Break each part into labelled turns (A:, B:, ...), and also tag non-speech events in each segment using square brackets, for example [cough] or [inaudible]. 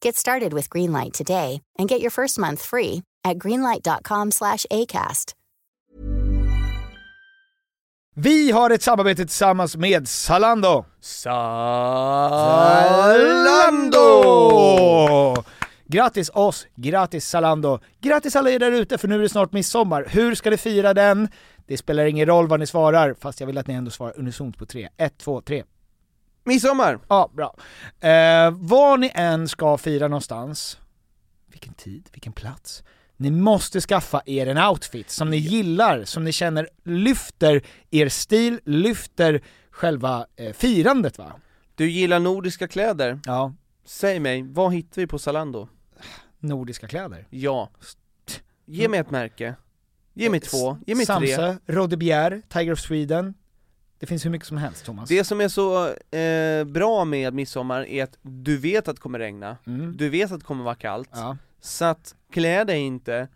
A: Get started with Greenlight today and get your first month free at greenlight.com/acast.
B: Vi har ett samarbete tillsammans med Zalando.
C: Zalando!
B: Grattis oss, grattis Zalando, grattis alla er där ute för nu är det snart midsommar. Hur ska ni fira den? Det spelar ingen roll vad ni svarar, fast jag vill att ni ändå svarar unisont på tre. Ett, två, tre.
C: Midsommar!
B: Ja, bra. Eh, var ni än ska fira någonstans, vilken tid, vilken plats, ni måste skaffa er en outfit som ni gillar, som ni känner lyfter er stil, lyfter själva eh, firandet va?
C: Du gillar nordiska kläder?
B: Ja,
C: Säg mig, vad hittar vi på Zalando?
B: nordiska kläder.
C: Ja. Ge mig ett märke. Ge mig två, ge mig tre.
B: Samse, Rodde Bjerre, Tiger of Sweden. Det finns hur mycket som helst Thomas.
C: Det som är så eh, bra med midsommar är att du vet att det kommer regna,
B: Mm.
C: du vet att det kommer vara kallt,
B: Ja.
C: så att klä dig inte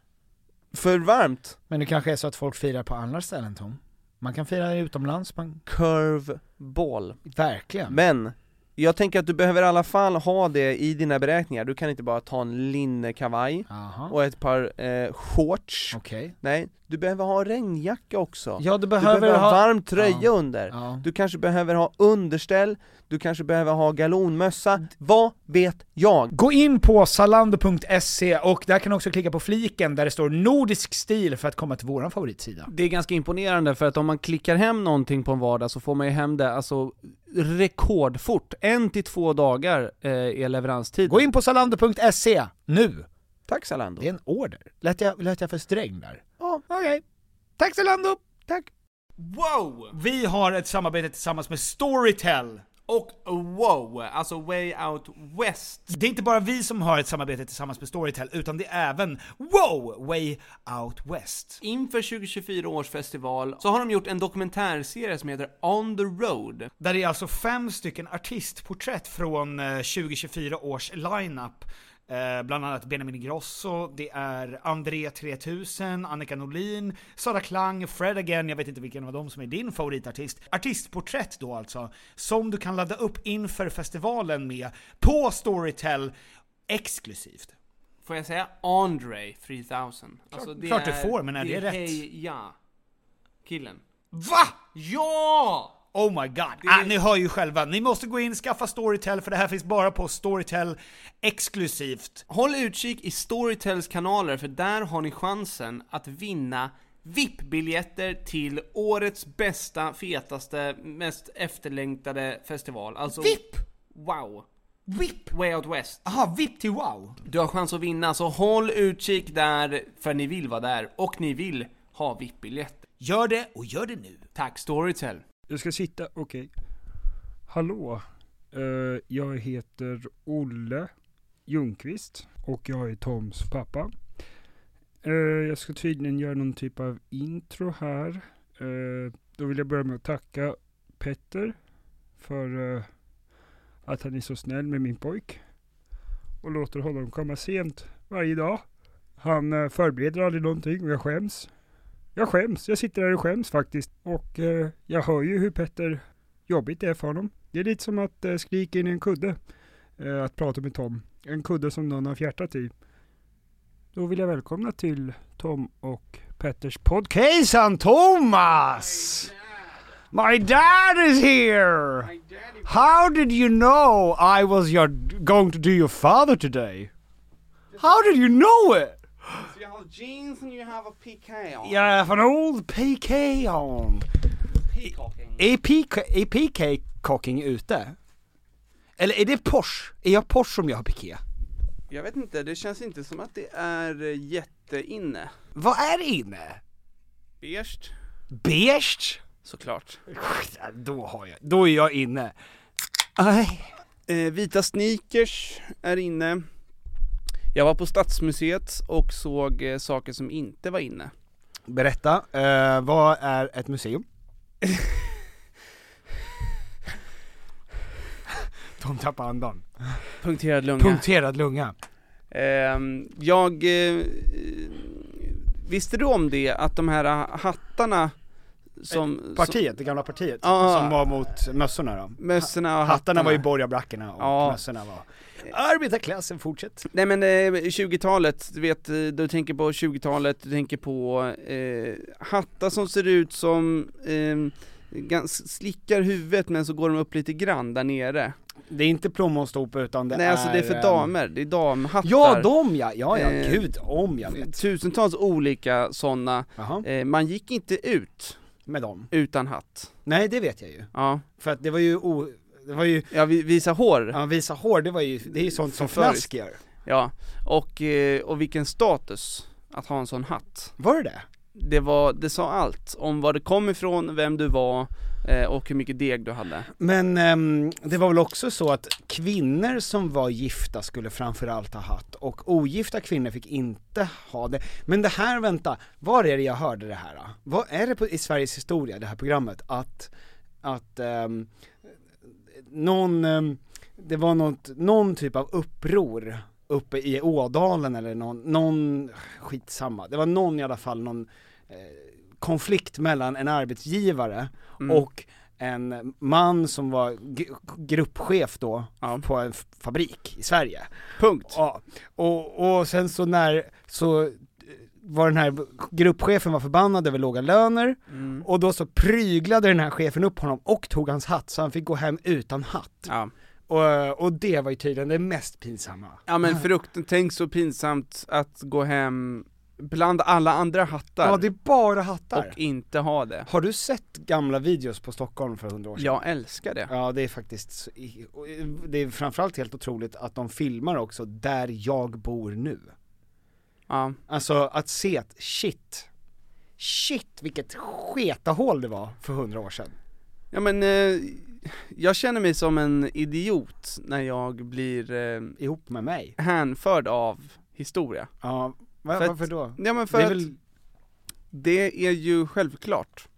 C: för varmt.
B: Men det kanske är så att folk firar på andra ställen Tom. Man kan fira utomlands, man...
C: Curveball.
B: Mm. verkligen.
C: Men, jag tänker att du behöver i alla fall ha det i dina beräkningar, du kan inte bara ta en linnekavaj
B: Aha.
C: och ett par eh, shorts
B: Okej.
C: Nej, du behöver ha regnjacka också.
B: Ja, du
C: du
B: behöver,
C: behöver, ha varm tröja
B: Ja.
C: under.
B: Ja.
C: Du kanske behöver ha underställ, du kanske behöver ha galonmössa, vad vet jag?
B: Gå in på salando.se och där kan du också klicka på fliken där det står nordisk stil för att komma till våran favoritsida.
C: Det är ganska imponerande för att om man klickar hem någonting på en vardag så får man ju hem det alltså rekordfort. En till två dagar eh, är leveranstid.
B: Gå in på salando.se nu!
C: Tack
B: Det är
C: Zalando.
B: en order. Lät jag, lät jag för sträng där?
C: Ja.
B: Okej. Tack Zalando! Tack!
D: Wow!
B: Vi har ett samarbete tillsammans med Storytel.
D: Och wow, alltså Way Out West.
B: Det är inte bara vi som har ett samarbete tillsammans med Storytel, utan det är även WOW! Way Out West.
D: Inför 2024 års festival så har de gjort en dokumentärserie som heter On the Road.
B: Där det är alltså fem stycken artistporträtt från eh, 2024 års lineup. Eh, Bland annat Benjamin Ingrosso, det är André 3000, Annika Norlin, Sara Klang, Fred Again, jag vet inte vilken av dem som är din favoritartist. Artistporträtt då alltså, som du kan ladda upp inför festivalen med på Storytel exklusivt.
D: Får jag säga Andre 3000? Alltså
B: Klart- klart du får, men är det rätt?
D: Hey, ja. Killen.
B: VA?
D: Ja!
B: Oh my god! Ah, ni hör ju själva, ni måste gå in, skaffa Storytel för det här finns bara på Storytel exklusivt.
D: Håll utkik i Storytels kanaler för där har ni chansen att vinna VIP-biljetter till årets bästa, fetaste, mest efterlängtade festival. Alltså...
B: VIP?
D: Wow!
B: VIP!
D: Way Out West.
B: Aha, VIP till wow!
D: Du har chans att vinna, så håll utkik där, för ni vill vara där och ni vill ha VIP-biljetter.
B: Gör det, och gör det nu!
D: Tack Storytel!
E: Jag ska sitta, okej. Hallå. Eh, jag heter Olle Ljungqvist och jag är Toms pappa. Eh, jag ska tydligen göra någon typ av intro här. Eh, då vill jag börja med att tacka Petter för eh, att han är så snäll med min pojk. och låter honom komma sent varje dag. Han eh, förbereder aldrig någonting och jag skäms. Jag skäms, jag sitter här och skäms faktiskt. Och eh, jag hör ju hur Petter jobbigt det är för honom. Det är lite som att eh, skrika in i en kudde. Eh, att prata med Tom. En kudde som någon har fjärtat i. Då vill jag välkomna till Tom och Petters podcast.
B: Kejsaren Thomas! My dad is here! How did you know I was your going to do your father today? How did you know it?
C: So you have jeans and you have a PK on.
B: You have an old PK on.
C: Peacocking.
B: Är PK, är PK cocking ute? Eller är det Porsche? Är jag Porsche som jag har piké?
C: Jag vet inte, det känns inte som att det är eh, jätteinne.
B: Vad är det inne?
C: Beige.
B: Beige?
C: Såklart.
B: Ja, [laughs] Då har jag, då är jag inne. Aj.
C: Eh, vita sneakers är inne. Jag var på Stadsmuseet och såg eh, saker som inte var inne.
B: Berätta, eh, vad är
C: [laughs]
B: ett museum? De tappar andan.
C: Punkterad lunga.
B: Punkterad lunga.
C: Ehm, jag... Eh, visste du om det att de här eh, hattarna
B: Eh,
C: som... som
B: Partiet, det gamla partiet,
C: Ja.
B: som var mot mössorna då.
C: mössorna och
B: Hattarna var ju borgarbrackorna och
C: Ja.
B: mössorna var arbetarklassen, fortsätt.
C: Nej men eh, 20-talet, du vet, eh, du tänker på 20-talet, du tänker på eh, hattar som ser ut som eh, gans- slickar huvudet men så går de upp lite grann där nere.
B: Det är inte plommonstop utan det
C: Nej
B: är...
C: alltså det är för
B: ehm,
C: damer, det är damhattar.
B: Ja, de ja, ja, ja,
C: Eh,
B: gud om jag vet.
C: Tusentals olika sådana.
B: Jaha,
C: Eh, man gick inte ut
B: med dem.
C: utan hatt.
B: Nej, det vet jag ju.
C: Ja,
B: För att det var ju o... Det var ju,
C: ja vi, visa hår.
B: ja, visa hår, det var ju, det är ju sånt som
C: Förföriskt.
B: fnask gör.
C: Ja, och, eh, och vilken status att ha en sån hatt.
B: Var det det?
C: Det, var, det sa allt om var det kom ifrån, vem du var eh, och hur mycket deg du hade.
B: Men ehm, det var väl också så att kvinnor som var gifta skulle framförallt ha hatt och ogifta kvinnor fick inte ha det. Men det här, vänta, var är det jag hörde det här? Då? Vad är det på, i Sveriges historia, det här programmet, att, att ehm, någon, ehm, det var något, någon typ av uppror uppe i Ådalen eller någon, någon, skitsamma, det var någon i alla fall, någon eh, konflikt mellan en arbetsgivare
C: Mm.
B: och en man som var g- gruppchef då
C: Ja.
B: på en f- fabrik i Sverige.
C: Punkt.
B: Ja. Och, och sen så när, så eh, var den här gruppchefen var förbannad över låga löner
C: Mm.
B: och då så pryglade den här chefen upp honom och tog hans hatt så han fick gå hem utan hatt.
C: Ja.
B: Och, och det var ju tydligen det mest pinsamma.
C: ja men frukten, tänk så pinsamt att gå hem bland alla andra hattar
B: Ja det är bara hattar.
C: och inte ha det.
B: Har du sett gamla videos på Stockholm för hundra år sedan?
C: Jag älskar det.
B: Ja det är faktiskt, så- i- och, eh, det är framförallt helt otroligt att de filmar också där jag bor nu.
C: Ja.
B: Alltså att se att shit, shit vilket sketahål det var för hundra år sedan.
C: Ja men, eh, jag känner mig som en idiot när jag blir eh,
B: Ihop med mig.
C: hänförd av historia.
B: Ja, va,
C: För att-
B: varför då?
C: Ja men för
B: det är
C: att
B: väl,
C: Det är ju självklart.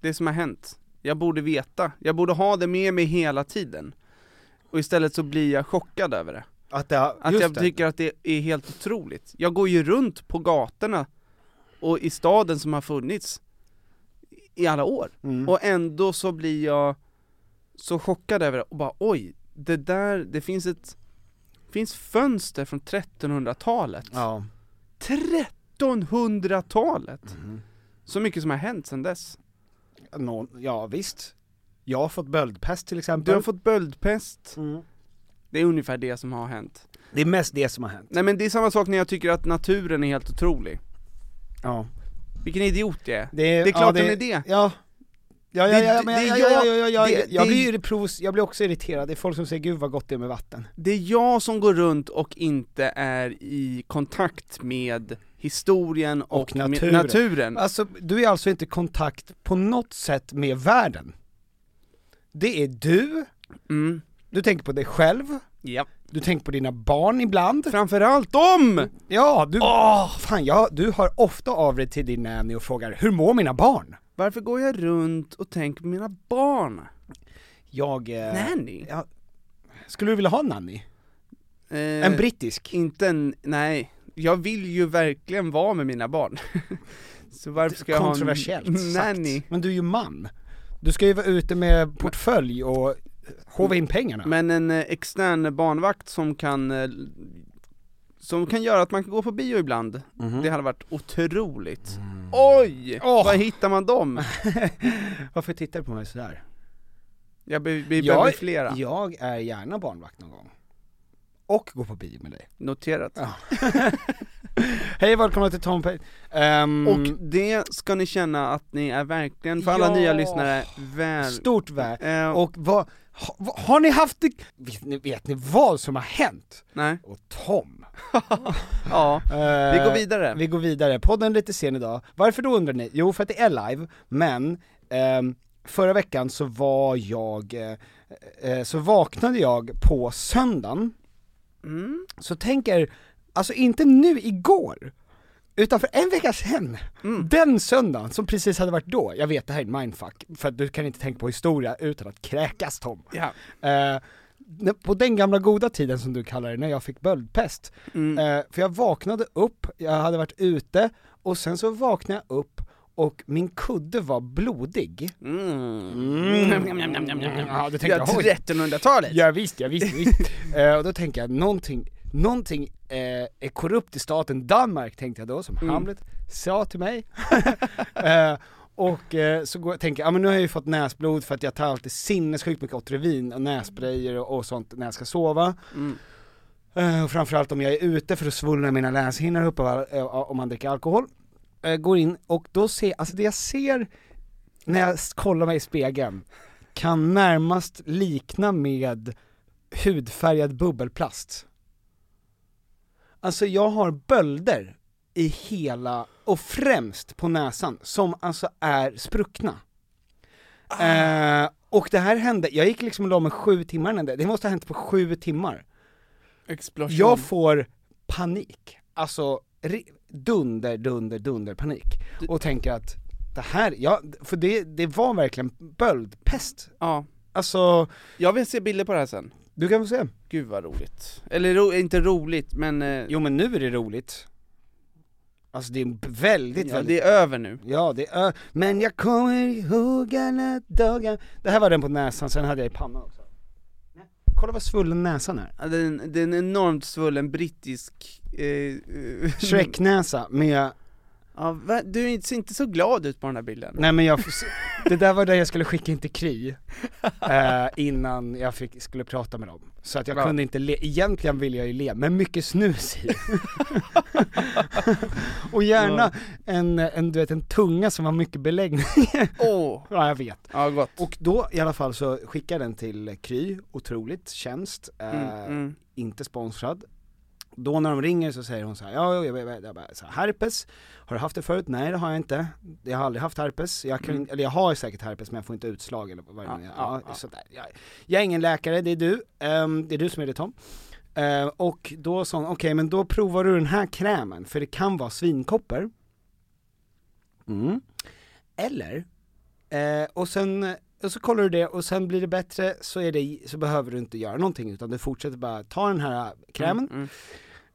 C: Det som har hänt. Jag borde veta. Jag borde ha det med mig hela tiden. Och istället så blir jag chockad över det.
B: att det, har-
C: Att
B: just
C: jag
B: det.
C: tycker att det är helt otroligt. Jag går ju runt på gatorna och i staden som har funnits i alla år.
B: Mm.
C: Och ändå så blir jag så chockad över det och bara oj, det där, det finns ett, finns fönster från 1300-talet.
B: Ja.
C: 1300-talet!
B: Mhm.
C: Så mycket som har hänt sedan dess.
B: Nå, ja visst. Jag har fått böldpest till exempel.
C: Du har fått böldpest,
B: Mm.
C: det är ungefär det som har hänt.
B: Det är mest det som har hänt.
C: Nej men det är samma sak när jag tycker att naturen är helt otrolig.
B: Ja.
C: Vilken idiot jag är.
B: Det
C: Det är klart
B: ja,
C: den är det.
B: Ja. Ja, ja,
C: Det-
B: ja, men
C: det-
B: jag,
C: det-
B: jag, jag, jag, jag,
C: det-
B: jag
C: det-
B: blir ju provos- jag blir också irriterad, det är folk som säger 'Gud vad gott det är med vatten'
C: Det är jag som går runt och inte är i kontakt med historien och,
B: Och
C: med
B: naturen.
C: naturen.
B: Alltså, du är alltså inte i kontakt på något sätt med världen? Det är du,
C: Mm.
B: du tänker på dig själv,
C: Ja.
B: du tänker på dina barn ibland
C: Framförallt om!
B: Ja, du, fan jag, du hör ofta av dig till din nanny och frågar 'Hur mår mina barn?'
C: Varför går jag runt och tänker på mina barn?
B: Jag, eh,
C: Nanny?
B: Ja. skulle du vilja ha en nanny?
C: eh,
B: En brittisk?
C: Inte en, nej. Jag vill ju verkligen vara med mina barn. [laughs] Så varför ska jag ha
B: Kontroversiellt
C: en
B: sagt.
C: nanny?
B: Men du är ju man. Du ska ju vara ute med portfölj och hova in pengarna.
C: Men en eh, extern barnvakt som kan, eh, som kan göra att man kan gå på bio ibland. Det hade varit otroligt. Oj!
B: Åh!
C: Var hittar man dem?
B: [laughs] Varför tittar du på mig sådär?
C: Jag be, vi behöver flera.
B: jag är gärna barnvakt någon gång. Och gå på bio med dig.
C: Noterat.
B: Ja. Hej välkomna till Tom Payne. Ehm,
C: Och det ska ni känna att ni är verkligen, för alla
B: Ja.
C: nya lyssnare, väl...
B: stort vä.
C: Eh,
B: Och vad, ha, vad- har ni haft det, vet ni, vet ni vad som har hänt?
C: nej,
B: Och Tom.
C: ja. Vi går
B: Eh,
C: vidare.
B: Vi går vidare, podden är lite sen idag. Varför då undrar ni? Jo för att det är live, men ehm, förra veckan så var jag, eh, eh, så vaknade jag på söndagen,
C: Mm.
B: så tänker, alltså inte nu igår, utan för en vecka sedan,
C: Mm.
B: den söndagen som precis hade varit då, jag vet det här är en mindfuck, för att du kan inte tänka på historia utan att kräkas Tom.
C: Ja.
B: Eh, när- på den gamla goda tiden som du kallar det, när jag fick böldpest,
C: Mm.
B: Eh, för jag vaknade upp, jag hade varit ute, och sen så vaknade jag upp och min kudde var blodig. Mm. Ja, du
C: Ja,
B: tänkte jag, oj.
C: 1300-talet!
B: Ja, visst, ja, visst, visst.
C: [laughs]
B: eh, och då tänker jag, någonting, någonting eh, är korrupt i staten Danmark, tänkte jag då, som
C: Mm.
B: Hamlet sa till mig. [laughs] eh, och eh, så går, tänker jag, ja men nu har jag ju fått näsblod för att jag tar alltid sinnessjukt mycket Otrivin och nässprayer och, och sånt när jag ska sova.
C: Mm.
B: Eh, och Framförallt om jag är ute för att svullna mina näshinnor upp av, all- eh, om man dricker alkohol. Eh, Går in och då ser, alltså det jag ser när jag s- kollar mig i spegeln kan närmast likna med hudfärgad bubbelplast. Alltså jag har bölder i hela, och främst på näsan, som alltså är spruckna. Eh, och det här hände, jag gick liksom och la mig sju timmar innan det, det måste ha hänt på sju timmar.
F: Explosion.
B: Jag får panik, alltså ri- dunder, dunder, dunder panik. Och tänker att det här, ja, för det, det var verkligen böldpest.
C: Ja.
B: Alltså,
C: Jag vill se bilder på det här sen.
B: du kan få se.
C: Gud vad roligt. Eller ro, inte roligt, men... eh,
B: Jo men nu är det roligt. Alltså det är en b- väldigt,
C: ja,
B: väldigt
C: det är över nu.
B: Ja, det är... Men jag kommer ihåg alla dagar Det här var den på näsan, sen hade jag i pannan också. Kolla vad svullen näsan är.
C: Ja, Det är en, det är en enormt svullen brittisk... Eh, eh,
B: Mm. Shrek-näsa med...
C: ja, va? Du är- ser inte så glad ut på den här bilden.
B: Nej men jag... Det där var det jag skulle skicka in till Kry. Eh, innan jag fick, skulle prata med dem. Så att jag
C: Bra.
B: kunde inte le. Egentligen ville jag ju le, men mycket snus i. Och gärna en, en, du vet, en tunga som har mycket belägg.
C: Åh!
B: [laughs] ja, jag vet.
C: Ja, gott.
B: Och då i alla fall så skickade jag den till Kry, otroligt tjänst, eh,
C: Mm, mm.
B: inte sponsrad. Då när de ringer så säger hon så här, ja, jag, jag, jag, jag bara, så här, herpes, har du haft det förut? Nej det har jag inte, jag har aldrig haft herpes, jag kan, eller jag har säkert herpes men jag får inte utslag eller vad
C: Mm.
B: det
C: Ja,
B: nu är.
C: ja,
B: ja,
C: ja.
B: sådär. Jag, jag är ingen läkare, det är du, Ehm, det är du som är det Tom. Eh, och då sa hon, okej men då provar du den här krämen, för det kan vara svinkopper. Mm. Eller, eh, och sen, och så kollar du det och sen blir det bättre så, är det, så behöver du inte göra någonting utan du fortsätter bara ta den här krämen
C: Mm.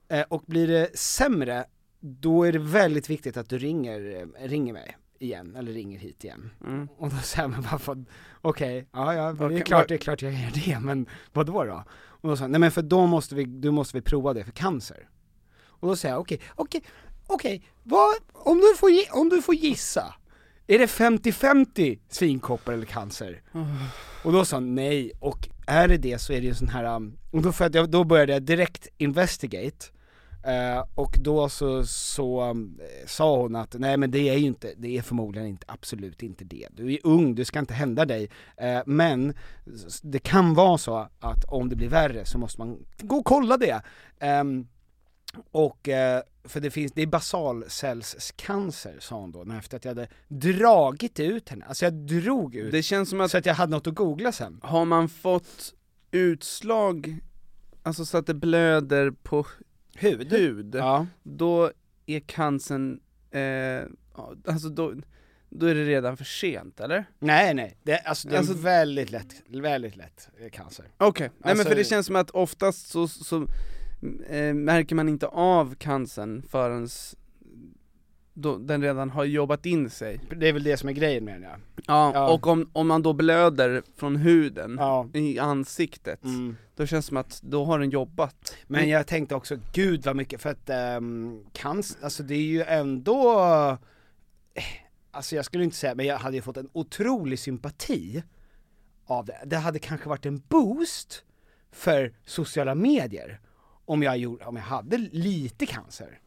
B: eh, och blir det sämre då är det väldigt viktigt att du ringer, eh, ringer mig igen eller ringer hit igen.
C: Mm.
B: Och då säger man bara, fan, okej, ja, ja, det är
C: Okej,
B: klart,
C: vad-
B: det är klart jag gör det, men vad då då? Och då sa han, nej men för då måste vi, då måste vi prova det för cancer. Och då säger jag, okej, okej, okej, vad, om du får, gi- om du får gissa, är det 50-50 svinkoppor eller cancer? Och då sa han nej, och är det det så är det ju sån här, um, och då, för att jag, då började jag direkt investigate, Eh, och då så, så um, eh, sa hon att nej men det är ju inte, det är förmodligen inte, absolut inte det. Du är ung, det ska inte hända dig. Eh, men s- det kan vara så att om det blir värre så måste man gå och kolla det. Ehm, och, eh, för det finns, det är basalcellscancer sa hon då, när- efter att jag hade dragit ut henne, alltså jag drog ut,
C: Det känns som att
B: så att jag hade något att googla sen.
C: Har man fått utslag, alltså så att det blöder på hud,
B: Ja.
C: då är cancern, eh, ja, alltså då, då är det redan för sent eller?
B: Nej nej, det, alltså det är
C: Alltså-
B: en väldigt lätt, väldigt lätt eh, cancer.
C: Okej, nej men
B: Alltså-
C: för det känns som att oftast så, så eh, märker man inte av cancern förrän då den redan har jobbat in sig.
B: Det är väl det som är grejen menar jag.
C: Ja,
B: Ja.
C: och om, om man då blöder från huden
G: Mm.
B: Ja.
C: i ansiktet, då känns det som att då har den jobbat.
B: Mm. Men
G: Mm.
B: jag tänkte också, gud vad mycket, för att um, cancer, alltså det är ju ändå, eh, alltså jag skulle inte säga, men jag hade ju fått en otrolig sympati av det. Det hade kanske varit en boost för sociala medier om jag, gjorde, om jag hade lite cancer.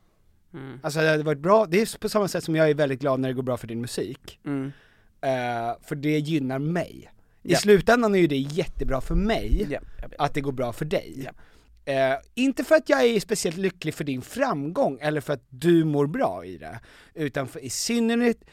B: Alltså det hade varit bra, det är på samma sätt som jag är väldigt glad när det går bra för din musik. Eh, för det gynnar mig. I
C: Ja.
B: slutändan är ju det jättebra för mig
C: Ja, ja, ja.
B: att det går bra för dig. Eh, inte för att jag är speciellt lycklig för din framgång eller för att du mår bra i det, utan för, i synnerhet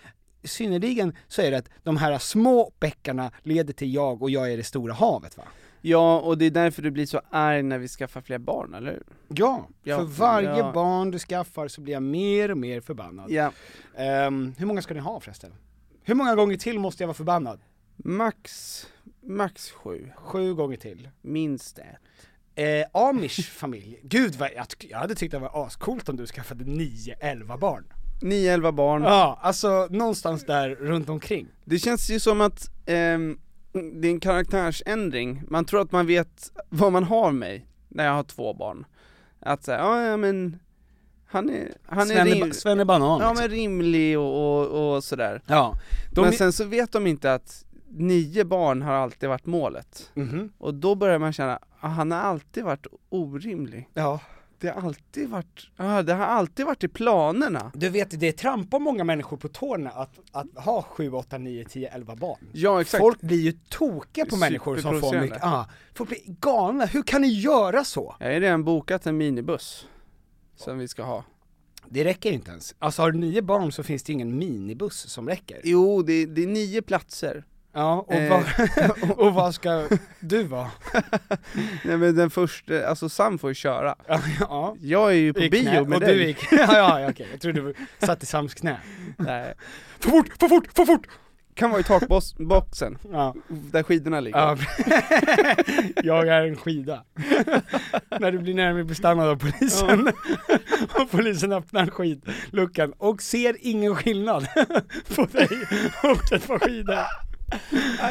B: synnerligen så är det att de här små bäckarna leder till jag och jag är det stora havet va?
C: Ja, och det är därför du blir så arg när vi skaffar fler barn, eller hur?
B: Ja,
C: Ja,
B: för varje
C: ja.
B: barn du skaffar så blir jag mer och mer förbannad.
C: Ja.
B: Ehm, hur många ska ni ha förresten? Hur många gånger till måste jag vara förbannad?
C: Max, max sju,
B: Sju gånger till.
C: minst ett.
B: Eh, Amish familj, gud vad, jag, jag hade tyckt det var ascoolt om du skaffade nio, elva barn.
C: Mm. Nio, elva barn.
B: Ja, alltså någonstans där runt omkring.
C: Det känns ju som att ehm, det är en karaktärsändring, man tror att man vet vad man har mig när jag har två barn. Att säga, ja ja, men han är, han är,
B: Svenne,
C: rim-
B: Svenne Banan
C: ja,
B: liksom.
C: men rimlig och, och, och sådär.
B: Ja, de
C: men
B: är-
C: sen så vet de inte att nio barn har alltid varit målet.
B: Mhm.
C: Och då börjar man känna, ah, han har alltid varit orimlig.
B: ja.
C: Det har alltid varit, ah, det har alltid varit i planerna.
B: Du vet, det trampar många människor på tårna att, att ha 7, 8, 9, 10, 11 barn.
C: Ja exakt.
B: Folk blir ju tokiga på människor som får
C: Superprovocerande.
B: mycket, ah, folk blir galna, hur kan ni göra så?
C: Jag har ju redan bokat en minibuss. Som vi ska ha.
B: Det räcker inte ens. Alltså har du nio barn så finns det ingen minibuss som räcker.
C: Jo, det är, det är nio platser.
B: Ja, och,
C: Eh. [laughs]
B: var, och vad [laughs] ska du vara?
C: Nej men den första, alltså Sam får ju köra.
B: Ja, ja.
C: Jag är ju på
B: I knä,
C: bio med
B: och
C: dig.
B: Du gick, [laughs] ja, ja, ja, okej, jag trodde du satt i Sams knä.
C: Nej.
B: För fort, för fort, för fort!
C: Kan vara i takboxen,
B: Ja.
C: där skidorna ligger.
B: Ja. [laughs] jag är en skida. [laughs] När du blir närmare bestannad av polisen [laughs] och polisen öppnar skidluckan och ser ingen skillnad [laughs] på dig och ett par skidor. Åh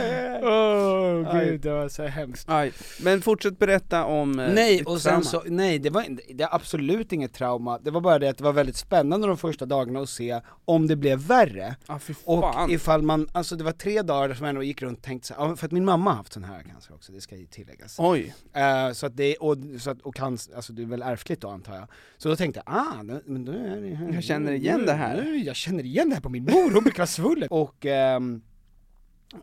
B: oh, gud, det var så hemskt.
C: Aj. Men fortsätt berätta om eh,
B: Nej,
C: ditt
B: och sen
C: trauma.
B: så, nej det var, in- det är absolut inget trauma, det var bara det att det var väldigt spännande de första dagarna att se om det blev värre.
C: Ah, fy
B: Och
C: fan.
B: ifall man, alltså det var tre dagar som jag ändå gick runt och tänkte så här, ja, för att min mamma har haft sån här cancer också, det ska ju tilläggas.
C: Oj.
B: Eh, så att det, och, så att, och cancer, alltså det är väl ärftligt då antar jag. Så då tänkte jag, ah, nu, men nu är det här.
C: Jag känner igen det här.
B: Nu, jag känner igen det här på min mor, hon brukar vara svullen.
C: [laughs]
B: Och ehm,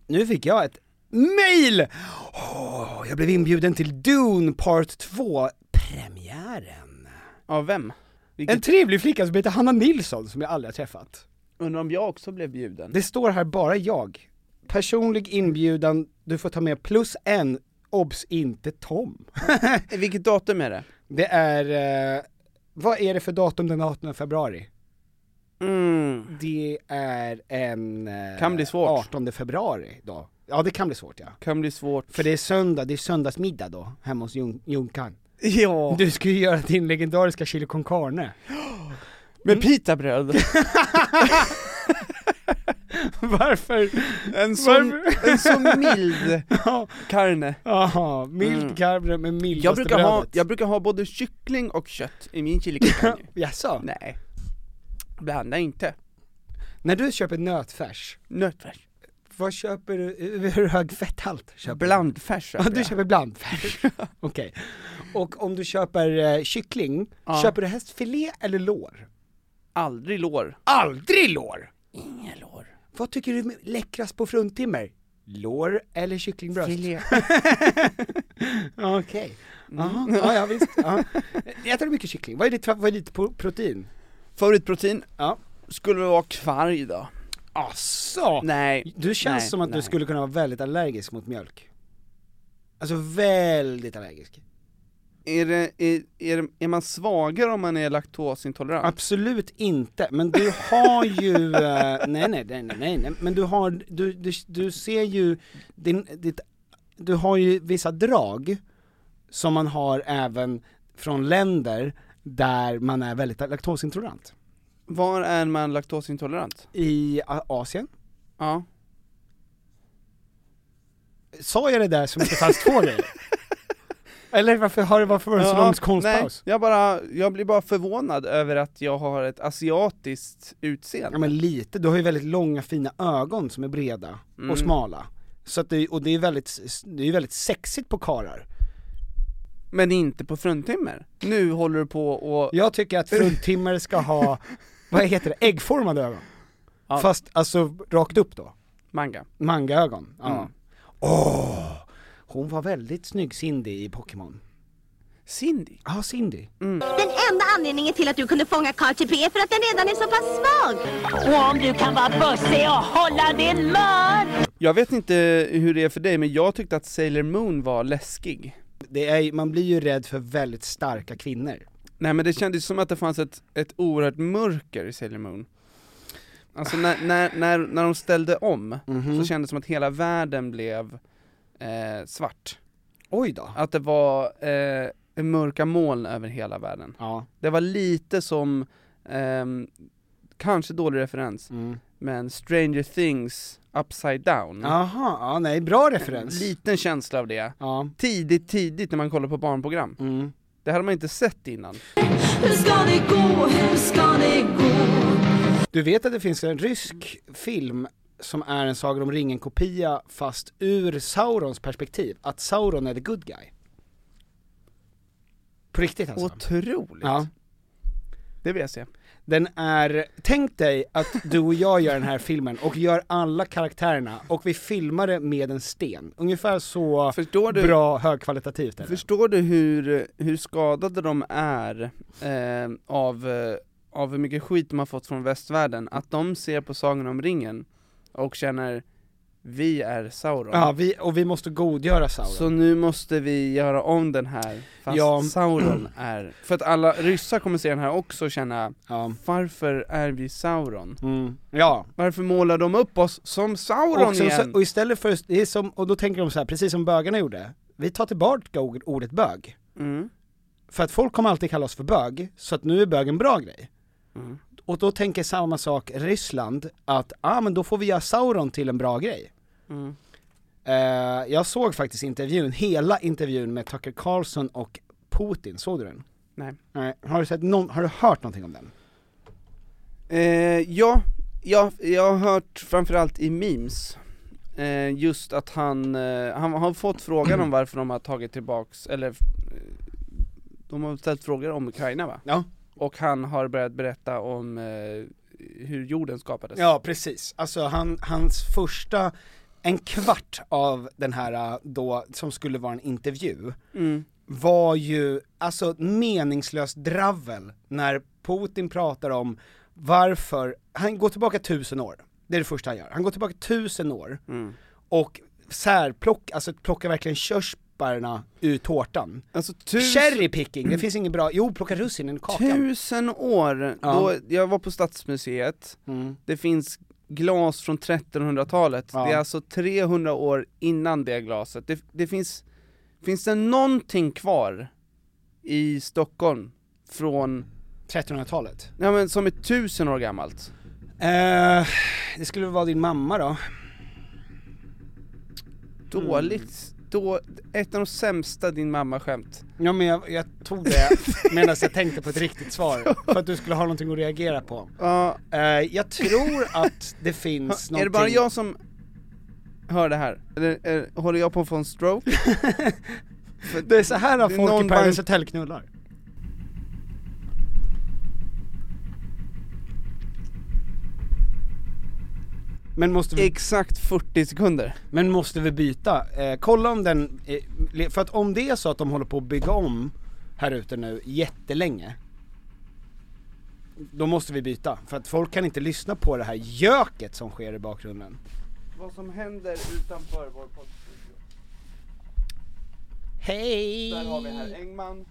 B: nu fick jag ett mail! Åh, jag blev inbjuden till Dune Part 2, premiären.
C: Av vem?
B: En
C: Vilket,
B: trevlig flicka som heter Hanna Nilsson, som jag aldrig har träffat.
C: undrar om jag också blev bjuden?
B: Det står här bara jag. Personlig inbjudan, du får ta med plus en, obs inte [laughs] Tom.
C: Vilket datum är det?
B: Det är, eh, vad är det för datum den 18 februari?
C: Mm.
B: Det är en... eh,
C: Kan bli svårt.
B: 18 februari då. Ja det kan bli svårt ja.
C: Kan bli svårt.
B: För det är söndag, det är söndagsmiddag då, hemma hos Jun- Junkan.
C: Ja.
B: Du ska ju göra din legendariska chili con carne. Mm.
C: Med pitabröd.
B: [laughs] Varför?
C: En sån,
B: Varför?
C: en sån mild
B: Ja,
C: karne.
B: Jaha, mild
C: Mm.
B: carne med mildaste
C: Jag brukar, ha,
B: brödet.
C: jag brukar ha både kyckling och kött i min chili con carne.
B: [laughs] Jaså?
C: Nej. Blanda inte.
B: När du köper nötfärs,
C: Nötfärs.
B: vad köper du, Eh, hur hög fetthalt köper du?
C: Blandfärs
B: Ja, du köper [laughs] blandfärs. Okej. Och om du köper eh, kyckling,
C: Ja.
B: köper du hästfilé eller lår?
C: Aldrig lår.
B: Aldrig lår!
C: Inga lår.
B: Vad tycker du är läckrast på fruntimmer? Lår eller kycklingbröst?
C: Filé.
B: [laughs] Okej. Jaha, ja, ja visst. Ja. Äter du mycket kyckling? Vad är ditt favoritprotein?
C: Favoritprotein
B: Ja.
C: skulle väl vara kvarg då.
B: Asså!
C: Nej.
B: Du känns
C: Nej,
B: som att
C: nej.
B: du skulle kunna vara väldigt allergisk mot mjölk. Alltså väldigt allergisk.
C: Är, det, är, är, det, är man svagare om man är laktosintolerant?
B: Absolut inte, men du har
C: [laughs]
B: ju, eh, nej, nej nej nej nej, nej. men du har, du, du, du ser ju, din, ditt, du har ju vissa drag som man har även från länder där man är väldigt laktosintolerant.
C: Var är man laktosintolerant?
B: I A- Asien.
C: Ja.
B: Sa jag det där som att det fanns
C: [laughs]
B: två grejer? Eller varför har det varför var det så lång
C: nej,
B: konstpaus?
C: jag, bara, jag blir bara förvånad över att jag har ett asiatiskt utseende.
B: Ja men lite, du har ju väldigt långa fina ögon som är breda
C: Mm.
B: och smala. Så att det, och det är väldigt, det är ju väldigt sexigt på karar.
C: Men inte på fruntimmer. Nu håller du på och...
B: Jag tycker att fruntimmer
C: [laughs]
B: ska ha, vad heter det, äggformade ögon.
C: Ja.
B: Fast alltså rakt upp då,
C: Manga.
B: mangaögon. Ja. Åh!
C: Mm.
B: Hon var väldigt snygg Cindy i Pokémon.
C: Cindy. Mm.
B: Ja, Cindy.
H: Den enda anledningen till att du kunde fånga Carter P är för att den redan är så pass svag. Och om du kan vara bussig och hålla din mun.
C: Jag vet inte hur det är för dig, men jag tyckte att Sailor Moon var läskig.
B: Det är, man blir ju rädd för väldigt starka kvinnor.
C: Nej men det kändes som att det fanns ett, ett oerhört mörker i Sailor Moon. Alltså när, när, när, när de ställde om,
B: Mm.
C: så kändes det som att hela världen blev eh, svart.
B: Oj då.
C: Att det var eh, mörka moln över hela världen.
B: Ja.
C: Det var lite som, ehm, kanske dålig referens,
B: Mm.
C: men Stranger Things Upside Down.
B: Aha, ja nej, bra referens.
C: Liten känsla av det.
B: Ja.
C: Tidigt, tidigt när man kollar på barnprogram.
B: Mm.
C: Det hade man inte sett innan.
H: Hur ska det gå? Hur ska det gå?
B: Du vet att det finns en rysk film som är en Sagan om ringen-kopia fast ur Saurons perspektiv, att Sauron är the good guy. På riktigt alltså.
C: Otroligt!
B: Ja.
C: Det vill jag se.
B: Den är, tänk dig att du och jag gör den här filmen och gör alla karaktärerna och vi filmar det med en sten. Ungefär så
C: Förstår du,
B: bra högkvalitativt är det.
C: förstår du hur, hur skadade de är eh, av, eh, av hur mycket skit de har fått från västvärlden? Att de ser på Sagan om ringen och känner vi är Sauron.
B: Ja, vi, och vi måste godgöra Sauron.
C: Så nu måste vi göra om den här, fast
B: Ja.
C: Sauron är... För att alla ryssar kommer se den här också och känna,
B: Ja.
C: varför är vi Sauron?
B: Mm. Ja,
C: Varför målar de upp oss som Sauron
B: och, sen,
C: igen?
B: så, och istället för, det är som, och då tänker de så här, precis som bögarna gjorde, vi tar tillbaka ord- ordet bög.
C: Mm.
B: För att folk kommer alltid kalla oss för bög, så att nu är bög en bra grej.
C: Mm.
B: Och då tänker samma sak Ryssland, att ah, men då får vi göra Sauron till en bra grej.
C: Mm.
B: Eh, jag såg faktiskt intervjun, hela intervjun med Tucker Carlson och Putin, såg du den?
C: Nej.
B: Nej. Har, du sett någon, har du hört någonting om den?
C: Eh, ja, jag, jag har hört framförallt i memes, eh, just att han, eh, han har fått frågan om varför de har tagit tillbaks, eller eh, de har ställt frågor om Ukraina va?
B: Ja.
C: Och han har börjat berätta om eh, hur jorden skapades.
B: Ja, precis. Alltså han, hans första, en kvart av den här eh, då, som skulle vara en intervju,
C: Mm.
B: var ju, alltså meningslöst dravel när Putin pratar om varför, han går tillbaka tusen år, det är det första han gör. Han går tillbaka tusen år
C: Mm.
B: och särplock, alltså plockar verkligen körsbärna ur tårtan.
C: Alltså tusen,
B: Cherry picking, det finns inget bra, jo plocka russinen ur kakan.
C: tusen år,
B: Ja.
C: då, jag var på Stadsmuseet,
B: Mm.
C: det finns glas från 1300-talet,
B: Ja.
C: det är alltså 300 år innan det glaset. Det, det finns, finns det någonting kvar i Stockholm från,
B: 1300-talet.
C: ja men som är tusen år gammalt?
B: Eh, det skulle väl vara din mamma då?
C: Dåligt,
B: Mm.
C: då, ett av de sämsta din mamma skämt.
B: Ja men jag, jag tog det medan jag tänkte på ett
C: [laughs]
B: riktigt svar, för att du skulle ha någonting att reagera på.
C: Ja,
B: Eh, jag tror att det finns någonting...
C: [laughs] är det bara jag som hör det här? Eller, eller håller jag på att få en
B: [laughs]
C: stroke? För-
B: Det är så här att
C: Det är
B: folk
C: någon
B: i Paradise
C: bara-
B: Hotel knullar. Men måste vi,
C: Exakt 40 sekunder.
B: men måste vi byta? Eh, kolla om den, eh, le- för att om det är så att de håller på att bygga om här ute nu jättelänge Då måste vi byta, för att folk kan inte lyssna på det här göket som sker i bakgrunden
C: Vad som händer utanför vår poddstudio.
B: Hej!
C: Där har vi herr
B: Mm.
C: Engman,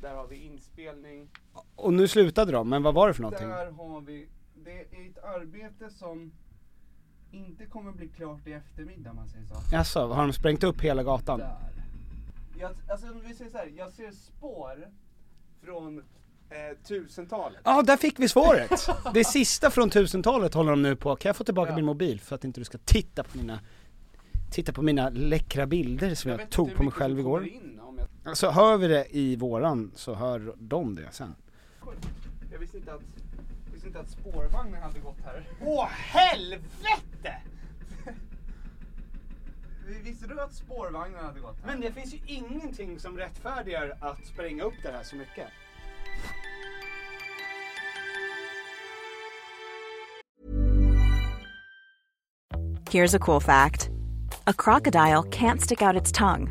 C: där har vi inspelning,
B: Och nu slutade de, men vad var det för någonting?
C: där har vi... Det är ett arbete som inte kommer bli klart i eftermiddag om man säger så.
B: Jaså, har de sprängt upp hela gatan?
C: Där. Jag, alltså om vi säger så här, jag ser spår
I: från eh, 1000-talet.
B: Ja, där fick
C: [laughs]
B: vi svaret! Det sista från 1000-talet håller de nu på. Kan jag få tillbaka min mobil för att inte du ska titta på mina, titta på mina läckra bilder som jag, tog på mig själv igår? Så hör vi det i våran så hör de det sen.
I: Jag visste inte att, visste inte att spårvagnen hade gått här. Åh helvete!
C: [laughs]
I: Visste du att spårvagnen hade gått här?
B: Men det finns ju ingenting som rättfärdigar att spränga upp det här så mycket.
J: Here's a cool fact a crocodile can't stick out its tongue.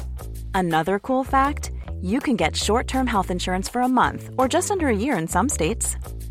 J: Another cool fact you can get short term health insurance for a month or just under a year in some states.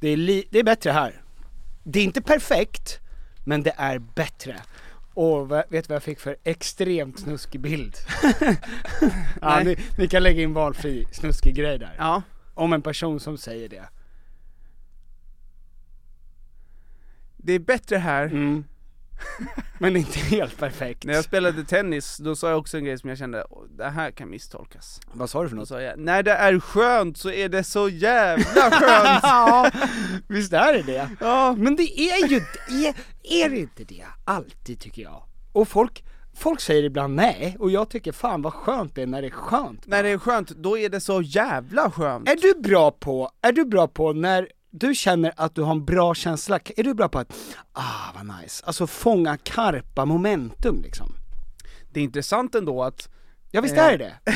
B: Det är, li- det är bättre här. Det är inte perfekt, men det är bättre. Och vad- vet du vad jag fick för extremt snuskig bild? [laughs] ja,
C: Nej.
B: ni, ni kan lägga in valfri snuskig grej där.
F: Ja.
B: Om en person som säger det.
C: Det är bättre här.
B: Mm. [laughs] Men inte helt perfekt.
C: När jag spelade tennis, då sa jag också en grej som jag kände, "Åh, det här kan misstolkas.
B: Vad sa du för
C: Då sa jag, när det är skönt så är det så jävla
B: [laughs]
C: skönt!
B: ja, visst är det det. Ja. Men det är ju, är, är det inte det? Alltid tycker jag. Och folk, folk säger ibland nej, och jag tycker fan vad skönt det är när det är skönt.
C: när det är skönt, då är det så jävla skönt.
B: Är du bra på, är du bra på när du känner att du har en bra känsla, är du bra på att, ah vad nice, alltså fånga karpa momentum liksom?
C: Det är intressant ändå att...
B: Ja visst
C: eh,
B: är [laughs] det det?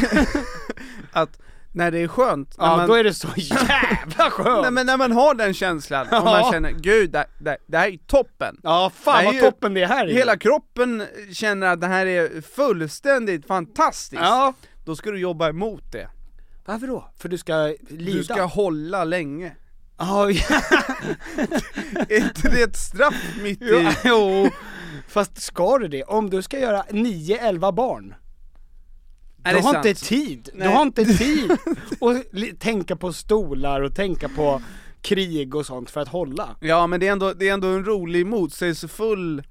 C: att när det är skönt, när
B: Ja
C: man,
B: då är det så [laughs] jävla skönt!
C: Nej men när man har den känslan, och man
B: Ja.
C: känner 'Gud, det, det, det här är toppen'
B: Ja
C: Det
B: fan
C: är
B: vad
C: ju-
B: toppen det är här
C: Hela kroppen känner att det här är fullständigt fantastiskt,
B: Ja.
C: då ska du jobba emot det.
B: Varför då? För du ska lida?
C: Du ska hålla
B: [laughs]
C: länge.
B: Ja, ja.
C: Är inte det ett straff mitt i...
B: Jo, [laughs] jo. Fast ska du det? Om du ska göra 9-11 barn,
C: Är
B: du
C: det
B: har
C: sant?
B: inte tid!
C: Nej.
B: Du
C: [laughs]
B: har inte tid! Och li- tänka på stolar och tänka på krig och sånt för att hålla.
C: Ja men det är ändå, det är ändå en rolig motsägelsefull eh,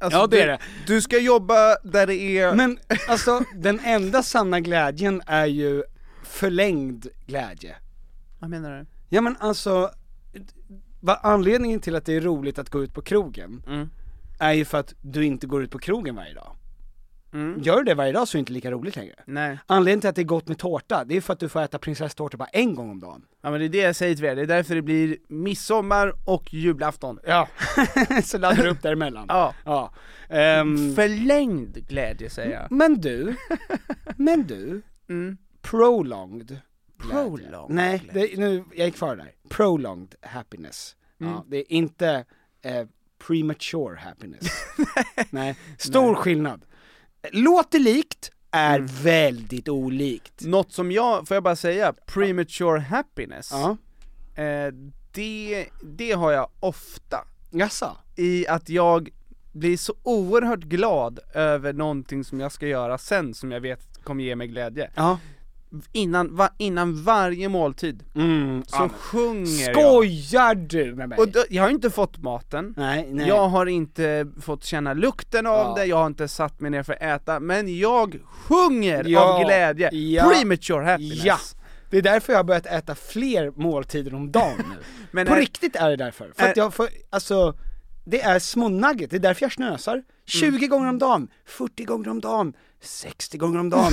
C: alltså
B: Ja, det
C: du,
B: är det.
C: Du ska jobba där det är...
B: Men alltså, den enda sanna glädjen är ju förlängd glädje.
C: Vad menar du?
B: Ja men alltså, vad anledningen till att det är roligt att gå ut på krogen
C: Mm.
B: är ju för att du inte går ut på krogen varje dag. Gör du det varje dag så är det inte lika roligt längre.
C: Mm. Nej.
B: Anledningen till att det är gott med tårta, det är för att du får äta prinsesstårta bara en gång om dagen.
C: Ja men det är det jag säger till er, det är därför det blir midsommar och julafton.
B: Ja. [laughs] så laddar du upp däremellan.
C: Ja.
B: ja. Ehm,
C: Förlängd glädje säger jag.
B: men du, men [laughs] du, prolonged. glädje.
C: Prolonged
B: Nej,
C: glädje.
B: det, nu, jag gick kvar där. Prolonged happiness. Ja, det är inte eh, premature [laughs] happiness. Nej, Mm. stor skillnad. Låter likt, är väldigt olikt.
C: Något som jag, får jag bara säga, premature happiness,
B: Ja,
C: eh, det, det har jag ofta.
B: jaså?
C: I att jag blir så oerhört glad över någonting som jag ska göra sen som jag vet kommer ge mig glädje.
B: Ja.
C: innan, va, innan varje måltid, så
B: ja, men-
C: sjunger
B: Skojar du med mig?
C: jag. Och då, jag har inte fått maten,
B: Nej, nej.
C: jag har inte fått känna lukten av
B: Ja.
C: det, jag har inte satt mig ner för att äta, men jag sjunger
B: Ja,
C: av glädje!
B: ja.
C: Premature happiness!
B: Ja. Det är därför jag har börjat äta fler måltider om dagen nu.
C: [laughs] Men
B: På
C: är-
B: riktigt är det därför. För att jag får, alltså, det är små nugget, det är därför jag snösar. 20
C: Mm.
B: gånger om dagen, 40 gånger om dagen, 60 gånger om dagen,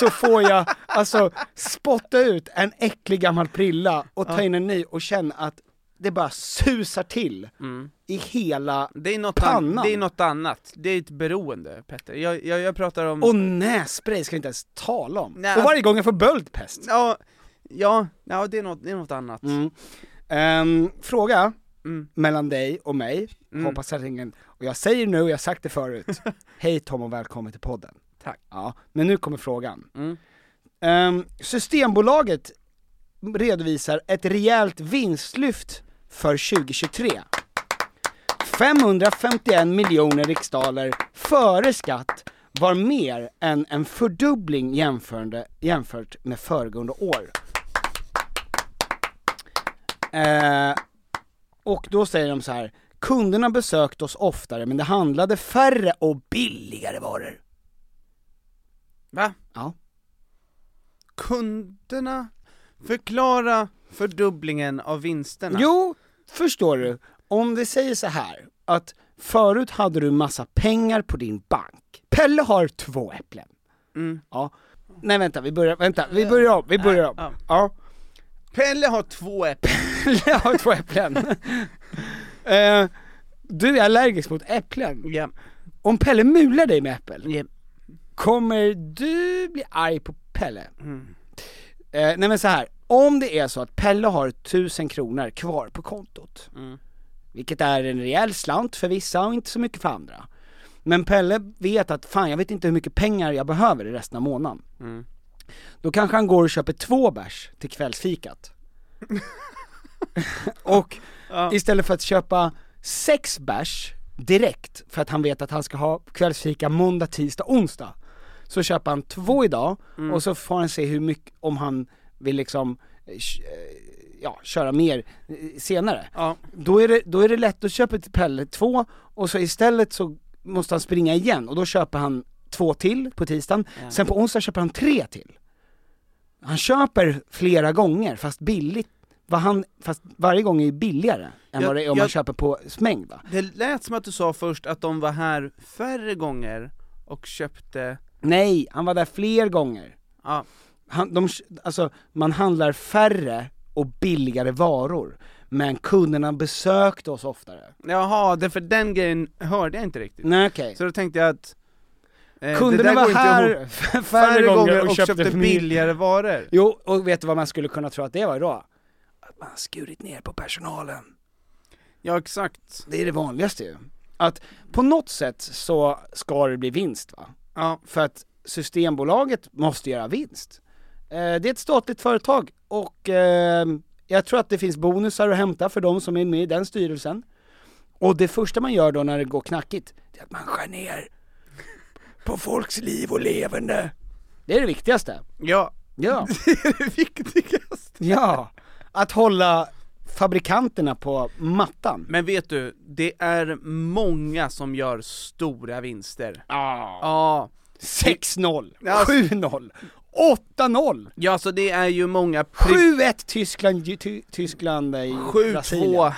B: så får jag alltså spotta ut en äcklig gammal prilla och ta in en ny och känna att det bara susar till i hela
C: Mm. Det är, något an-
B: pannan.
C: det är något annat, det är ett beroende Petter, jag, jag, jag pratar om...
B: Och nässpray ska vi inte ens tala om.
C: Nej,
B: och varje
C: alltså-
B: gång jag får böldpest.
C: Ja, ja, ja det, är något, det är något annat
B: Mm. Ehm, fråga mellan dig och mig, hoppas att ingen, och jag säger nu, och jag har sagt det förut, hej Tom och välkommen till podden.
C: Tack.
B: Ja, men nu kommer frågan. Ehm, Systembolaget redovisar ett rejält vinstlyft för 2023. 551 miljoner riksdaler före skatt var mer än en fördubbling jämförande, jämfört med föregående år. Eh, och då säger de så här, kunderna besökte oss oftare men det handlade färre och billigare varor.
C: Va?
B: Ja.
C: Kunderna förklara fördubblingen av vinsterna?
B: Jo, förstår du. Om vi säger så här att förut hade du massa pengar på din bank. Pelle har två äpplen.
C: Mm.
B: Ja. Nej vänta, vi börjar, vänta, vi börjar om, vi börjar om.
C: Ja.
B: Ja.
C: Pelle har två äpplen.
B: [laughs] Jag har två äpplen. Eh, du är allergisk mot äpplen.
C: Ja.
B: Om Pelle mular dig med äppel,
C: Ja.
B: kommer du bli arg på Pelle? Eh, nej men så här. om det är så att Pelle har 1000 kronor kvar på kontot, vilket är en rejäl slant för vissa och inte så mycket för andra. Men Pelle vet att fan jag vet inte hur mycket pengar jag behöver i resten av månaden. Då kanske han går och köper två bärs till kvällsfikat. och istället för att köpa sex bärs direkt för att han vet att han ska ha kvällsfika måndag, tisdag, onsdag. Så köper han två idag
C: Mm.
B: och så får han se hur mycket, om han vill liksom eh, kö- eh, Ja, köra mer eh, senare.
C: Ja.
B: Då, är det, då är det lätt att köpa till Pelle två och så istället så måste han springa igen och då köper han två till på tisdagen, sen på onsdag köper han tre till. Han köper flera gånger fast billigt, vad han, fast varje gång är ju billigare än
C: Jag-
B: vad det är om
C: jag-
B: man köper på smäng va?
C: Det lät som att du sa först att de var här färre gånger och köpte...
B: Nej, han var där fler gånger.
C: Ja.
B: Han, de, alltså, man handlar färre och billigare varor, men kunderna besökte oss oftare.
C: Jaha, det för den grejen hörde jag inte riktigt.
B: Nej okej.
C: Så då tänkte jag att... eh, det
B: Kunderna
C: där går
B: var
C: inte
B: här
C: ihop.
B: [laughs] färre, gånger och, köpte,
C: billigare varor.
B: Jo, och vet du vad man skulle kunna tro att det var då? Att man har skurit ner på personalen.
C: Ja, exakt.
B: Det är det vanligaste ju. Att på något sätt så ska det bli vinst va?
C: Ja.
B: För att Systembolaget måste göra vinst. Eh, det är ett statligt företag och eh, jag tror att det finns bonusar att hämta för de som är med i den styrelsen. Och det första man gör då när det går knackigt, det är att man skär ner på folks liv och levande. Det är det viktigaste.
C: Ja.
B: Ja. [laughs]
C: Det är det viktigaste.
B: Ja, att hålla fabrikanterna på mattan.
C: Men vet du, det är många som gör stora vinster.
B: Ja.
C: Ja.
B: 6-0,
C: Ja.
B: 7-0, 8-0,
C: Ja, alltså det är ju många... pri-
B: 7-1 Tyskland, ju- ty, Tyskland i Brasilien.
C: 7-2,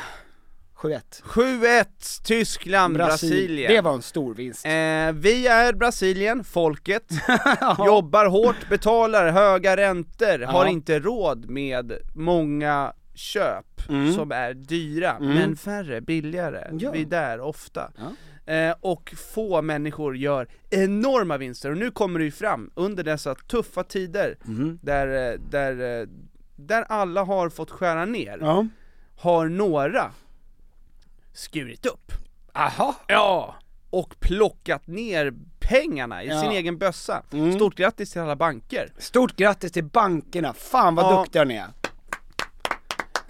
B: 7-1.
C: 7-1 Tyskland,
B: Brasil-
C: Brasilien.
B: Det var en stor vinst.
C: Eh, vi är Brasilien,
B: [laughs]
C: folket, jobbar hårt, betalar höga räntor, har inte råd med många köp som är dyra, men färre billigare.
B: Mm. Ja.
C: Vi är där ofta. Eh, och få människor gör enorma vinster, och nu kommer det ju fram under dessa tuffa tider
B: Mm.
C: där, eh, där, eh, där alla har fått skära ner,
B: Ja.
C: har några skurit upp.
B: Aha.
C: Ja! Och plockat ner pengarna i sin egen bössa. Stort grattis till alla banker.
B: Stort grattis till bankerna, fan vad
C: Ja.
B: duktiga ni är.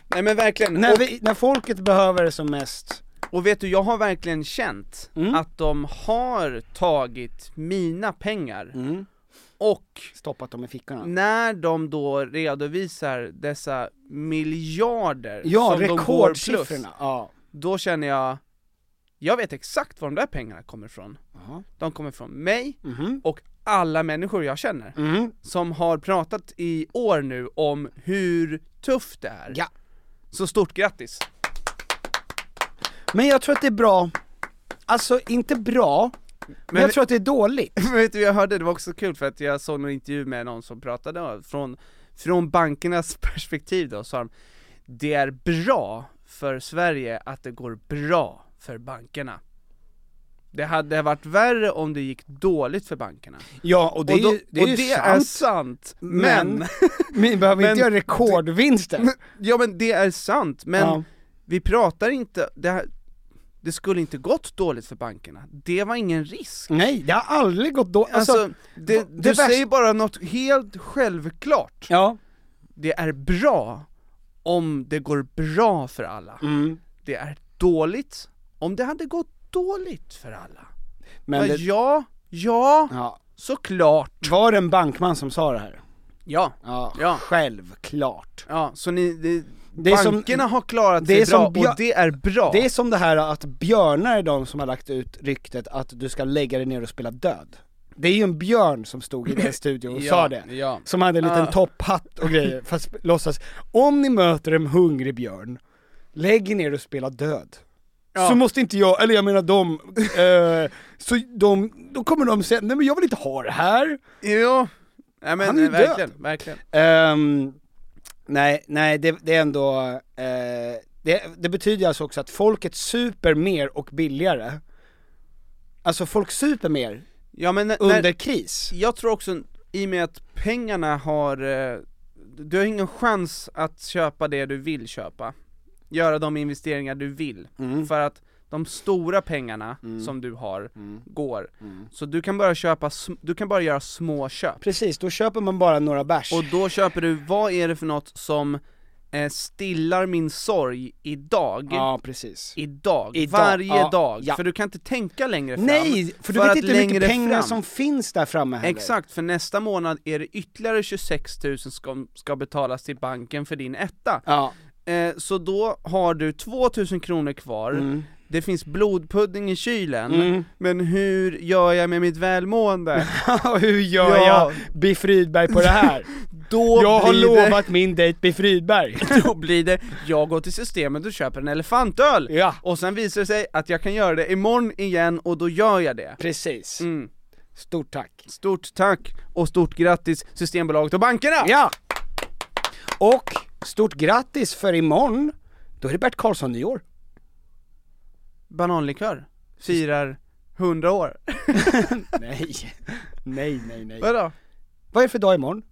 C: Nej men verkligen,
B: När,
C: och,
B: vi, när folket behöver det som mest.
C: och vet du, jag har verkligen Mm. känt att de har tagit mina pengar Och
B: Stoppat dem i fickorna.
C: när de då redovisar dessa miljarder
B: Ja,
C: som de går plus,
B: rekordsiffrorna, ja.
C: då känner jag, jag vet exakt var de där pengarna kommer ifrån. De kommer från mig och alla människor jag känner,
B: Mm.
C: som har pratat i år nu om hur tufft det är.
B: Ja.
C: Så stort grattis!
B: Men jag tror att det är bra, alltså inte bra, men,
C: Men-
B: jag tror att det är dåligt.
C: [laughs] Men vet du, jag hörde, det var också kul för att jag såg en intervju med någon som pratade om- från, från bankernas [laughs] perspektiv då, sa de Det är bra för Sverige att det går bra för bankerna Det hade varit värre om det gick dåligt för bankerna
B: Ja, och det är
C: då-
B: ju- det är
C: och
B: ju
C: det
B: sant.
C: är sant, men...
B: Men- [laughs] Vi behöver
C: Men-
B: inte göra rekordvinster.
C: ja men [laughs] det är sant, men
B: Ja.
C: vi pratar inte, det, här, det skulle inte gått dåligt för bankerna, det var ingen risk
B: Nej, det har aldrig gått då.
C: Alltså,
B: Alltså,
C: det,
B: det
C: du
B: värsta-
C: säger bara något helt självklart.
B: ja.
C: Det är bra om det går bra för alla.
B: Mm.
C: Det är dåligt om det hade gått dåligt för alla.
B: Men
C: ja,
B: det,
C: ja, ja,
B: ja.
C: såklart.
B: Var det en bankman som sa det här?
C: Ja,
B: Ja,
C: Ja.
B: självklart.
C: ja, så ni, det,
B: Det är som-
C: bankerna har klarat
B: det
C: sig
B: är
C: bra
B: som Björ-
C: och det är bra.
B: Det är som det här att björnar är de som har lagt ut ryktet att du ska lägga dig ner och spela död. Det är ju en björn som stod i den studion och
C: Ja,
B: sa det.
C: ja.
B: Som hade en liten
C: Ah.
B: topphatt och grejer, fast låtsas. Om ni möter en hungrig björn, lägg er ner och spela död.
C: Ja.
B: Så måste inte jag, eller jag menar de, eh, så de, då kommer de säga nej men jag vill inte ha det här.
C: Ja, nej, men
B: Han är ju
C: verkligen, verkligen.
B: Ehm, nej, nej det, det är ändå, eh, det, det betyder alltså också att folket super mer och billigare. Alltså folk super mer
C: Ja, men när-
B: under
C: när,
B: kris.
C: Jag tror också, i och med att pengarna har, eh, du har ingen chans att köpa det du vill köpa, göra de investeringar du vill,
B: Mm.
C: för att de stora pengarna som du har
B: Mm.
C: går, så du kan bara köpa, sm- du kan bara göra små köp.
B: Precis, då köper man bara några bärs.
C: Och då köper du, vad är det för något som eh, stillar min sorg idag?
B: Ja, precis.
C: Idag,
B: Idag,
C: varje
B: ja,
C: dag,
B: ja.
C: för du kan inte tänka längre fram
B: Nej, för du
C: att
B: vet inte hur mycket
C: längre
B: pengar
C: fram-
B: som finns där framme heller.
C: Exakt, för nästa månad är det ytterligare 26 000 som ska betalas till banken för din etta.
B: Ja.
C: Eh, så då har du 2 000 kronor kvar,
B: Mm.
C: det finns blodpudding i kylen, men hur gör jag med mitt välmående?
B: [laughs] Och hur gör
C: Ja.
B: jag Biff Rydberg [laughs] på det [laughs] här?
C: Då
B: jag har
C: blir
B: lovat min dejt Biff Rydberg.
C: Det, [laughs] då blir det, jag går till systemet och köper en elefantöl!
B: Ja.
C: Och sen visar det sig att jag kan göra det imorgon igen, och då gör jag det.
B: [laughs] Precis.
C: Mm.
B: Stort tack.
C: Stort tack, och stort grattis Systembolaget och bankerna!
B: Ja! Och stort grattis för imorgon, då är det Bert Karlsson nyår.
C: Bananlikör firar 100
B: [laughs]
C: år.
B: [laughs] Nej. [laughs] Nej, nej, nej.
C: Vadå?
B: Vad är det för dag imorgon?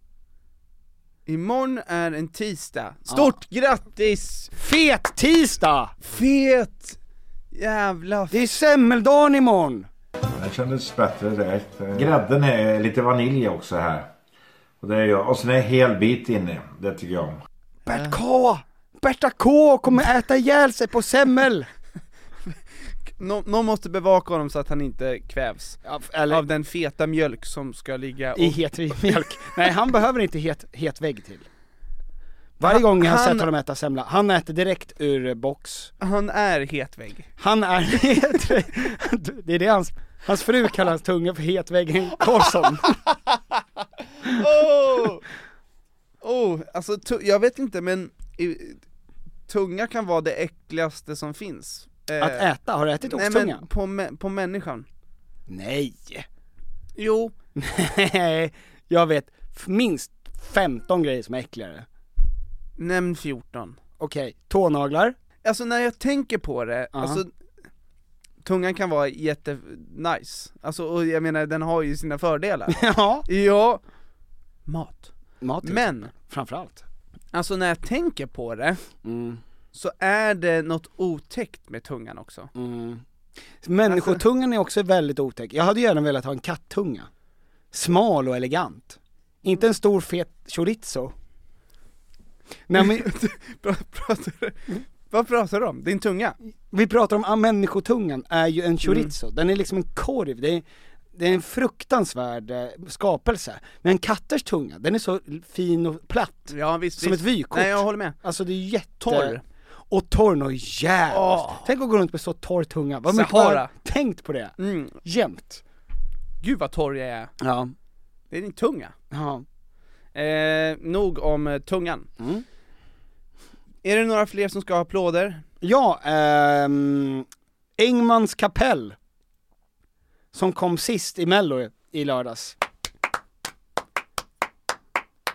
C: Imorgon är en tisdag. Stort grattis!
B: Fet tisdag!
C: Fet jävla
B: Det är semmeldagen imorgon!
K: Det kändes bättre direkt. Grädden är lite vanilj också här. Och, det är jag. och sen är hel bit inne. Det tycker jag om.
B: Bert K! Berta K kommer äta ihjäl sig på semmel!
C: Nå- Någon måste bevaka honom så att han inte kvävs
B: eller-
C: av den feta mjölk som ska ligga och...
B: I het mjölk. Nej, han behöver inte het, het vägg till. Varje gång jag har
C: han-
B: sett honom äta semla, han äter direkt ur eh, box.
C: Han är
B: [laughs]
C: hetvägg.
B: Han är het Det är det hans, hans fru kallar hans tunga för hetväggen Karlsson.
C: Oh! Oh, alltså tu- jag vet inte men i- tunga kan vara det äckligaste som finns. Eh,
B: Att äta, har du ätit
C: Nej
B: oxtunga?
C: men på, mä- på människan.
B: Nej!
C: Jo,
B: Nej, jag vet f- minst 15 grejer som är äckligare.
C: nämn 14.
B: Okej, tånaglar.
C: Alltså när jag tänker på det, alltså Tungan kan vara jättenice, alltså och jag menar den har ju sina
B: [laughs]
C: fördelar
B: Ja.
C: Ja Mat typ.
B: Mat till
C: Men,
B: Framförallt. Mm.
C: alltså när jag tänker på det Så är det något otäckt med tungan också
B: Mm. Människotungan är också väldigt otäck. Jag hade gärna velat ha en kattunga. Smal och elegant. Inte en stor fet chorizo. Nej [laughs] men,
C: Pra- pratar du- Vad pratar du om? Din tunga?
B: Mm. vi pratar om ah, människotungan är ju en chorizo, den är liksom en korv, det är, det är en fruktansvärd eh, skapelse. Men katters tunga, den är så fin och platt.
C: Ja, visst,
B: som
C: visst.
B: ett vykort.
C: Nej, jag håller med.
B: Alltså det är jätte...
C: Torr.
B: Och torr och jävligt. Tänk att gå runt med så Mm. torr tunga. Vad mycket man
C: Sahara.
B: har tänkt på det. Jämt.
C: Mm. Gud vad torr jag är.
B: Ja.
C: Det är din tunga.
B: Ja.
C: Eh, nog om eh, tungan.
B: Mm.
C: Är det några fler som ska ha applåder?
B: Ja, ehm, Engmans kapell. Som kom sist i mello i lördags.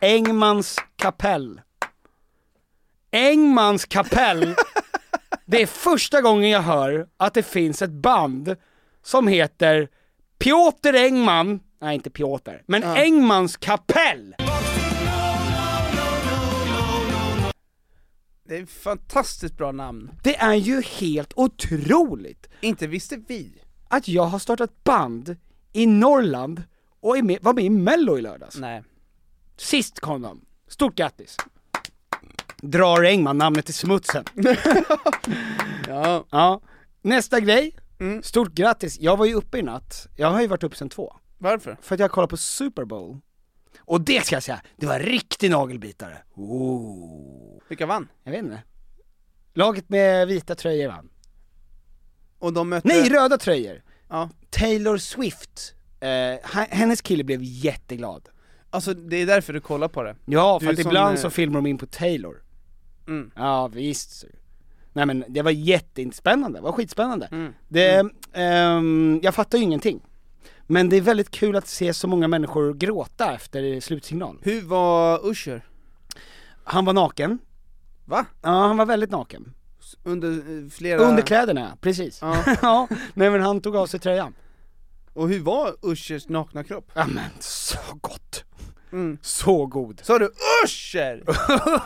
B: Engmans kapell. Engmans kapell. Det är första gången jag hör att det finns ett band som heter Piotr Engman, nej inte Piotr, men Engmans kapell!
C: Det är ett fantastiskt bra namn.
B: Det är ju helt otroligt!
C: Inte visste vi.
B: Att jag har startat band i Norrland och är med, var med i mello i lördags.
C: Nej.
B: Sist kom de. Stort grattis! Drar Engman namnet i smutsen.
C: [laughs] ja. Mm.
B: Nästa grej. Stort grattis, jag var ju uppe i natt. Jag har ju varit uppe sen två.
C: Varför?
B: För att jag kollade på Super Bowl. Och det ska jag säga, det var en riktig nagelbitare. Oh.
C: Vilka vann?
B: Jag vet inte. Laget med vita tröjor vann.
C: Och de mötte...
B: Nej, röda tröjor!
C: Ja.
B: Taylor Swift, eh, h- hennes kille blev jätteglad.
C: Alltså det är därför du kollar på det.
B: Ja,
C: Du
B: för att
C: är som,
B: ibland
C: eh,
B: så filmar de in på Taylor.
C: Mm.
B: Ja, visst. så. Nej men det var jättespännande, det var skitspännande.
C: Mm.
B: Det, ehm, jag fattar ju ingenting. Men det är väldigt kul att se så många människor gråta efter slutsignal.
C: Hur var Usher?
B: Han var naken.
C: Va?
B: Ja, han var väldigt naken.
C: Under eh, flera...
B: Under kläderna, precis.
C: Ja.
B: [laughs] ja, nej men han tog av sig tröjan.
C: Och hur var Ushers nakna kropp?
B: Ja men så gott.
C: Mm.
B: Så god.
C: Sa du [laughs] Usher?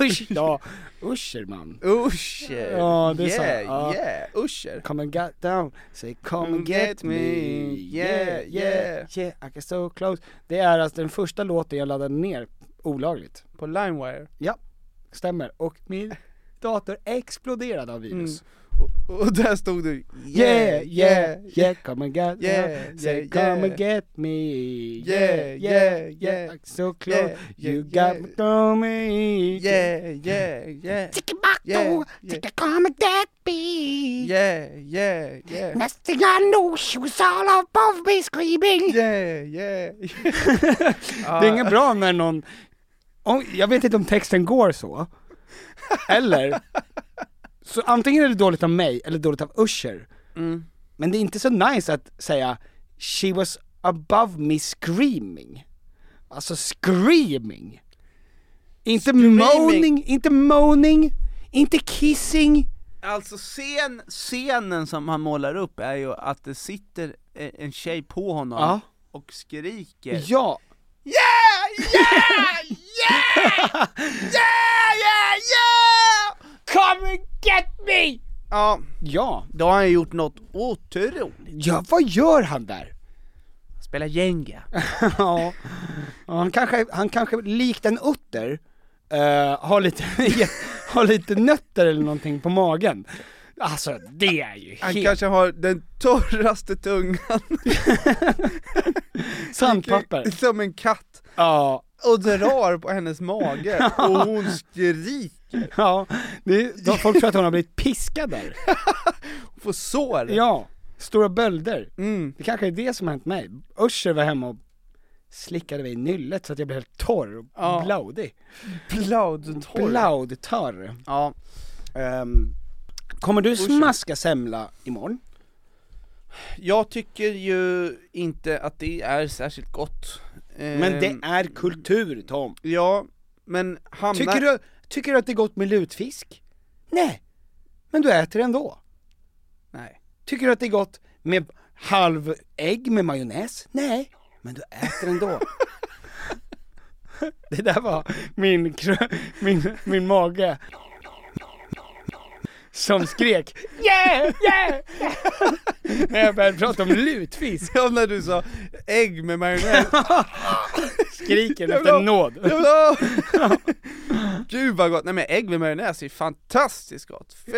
B: Usch, ja, Usher man.
C: Usher!
B: Ja, det sa
C: yeah,
B: jag. Ja.
C: yeah, Usher!
B: Come and get down, say come and get me, yeah, yeah, yeah, I get so close Det är alltså den första låten jag laddade ner olagligt
C: På LimeWire.
B: Ja, stämmer, och min dator exploderade av virus
C: Och, och där stod du
B: Mm. Yeah, yeah, yeah, come and get
C: Yeah,
B: down, say
C: yeah,
B: come
C: yeah.
B: and get me,
C: Yeah,
B: yeah,
C: yeah,
B: yeah,
C: yeah.
B: yeah, I get so close,
C: Yeah, yeah,
B: you got me, to me
C: Yeah, yeah, yeah,
B: Tickabacko,
C: yeah.
B: come and get me
C: yeah, yeah, yeah,
B: Next thing I know she was all above me screaming
C: yeah, yeah.
B: Det är inget bra när någon, om, jag vet inte om texten går så, eller, så antingen är det dåligt av mig eller dåligt av Usher,
C: Mm.
B: men det är inte så nice att säga 'She was above me screaming' Alltså screaming! Inte moaning, inte moaning, inte kissing,
C: Alltså scen, scenen som han målar upp är ju att det sitter e- en tjej på honom
B: Ja.
C: och skriker
B: ja,
C: Yeah, yeah, [laughs] yeah! Yeah, yeah, yeah! Come and get me! Ja,
B: ja,
C: då har han gjort något otroligt.
B: ja vad gör han där?
C: Spela Jenga.
B: [laughs] Ja, Ja, han kanske, han kanske likt en utter, eh, har, lite, [laughs] har lite nötter eller någonting på magen. Alltså det är ju
C: Han
B: helt
C: kanske har den torraste tungan.
B: sandpapper.
C: Som en katt.
B: Ja,
C: Och drar på hennes [laughs] mage och hon skriker.
B: ja. Det är, de, folk tror att hon har blivit piskad där.
C: Får sår.
B: Ja, stora bölder.
C: Mm.
B: Det kanske är det som har hänt mig. Usher var hemma och slickade mig i nyllet så att jag blev helt torr och
C: Ja.
B: blaudig.
C: Blaudtorr.
B: Blaudtorr.
C: Ja.
B: Ehm, kommer du smaska semla imorgon?
C: Jag tycker ju inte att det är särskilt gott. Eh,
B: Men det är kultur Tom.
C: Ja, men hamnar...
B: Tycker du, tycker du att det är gott med lutfisk? Nej, men du äter det ändå.
C: Nej.
B: Tycker du att det är gott med halv ägg med majonnäs? Nej, men du äter det ändå. [laughs] det där var min, krö- min, min mage som skrek yeah, yeah! När jag började prata om lutfisk,
C: [laughs] Ja, när du sa ägg med
B: [laughs]
C: majonnäs.
B: skriken
C: Jag vill ha-
B: efter nåd.
C: Jag vill ha-
B: [laughs]
C: [laughs] Gud vad gott! Nej men ägg med majonnäs är fantastiskt gott. Fy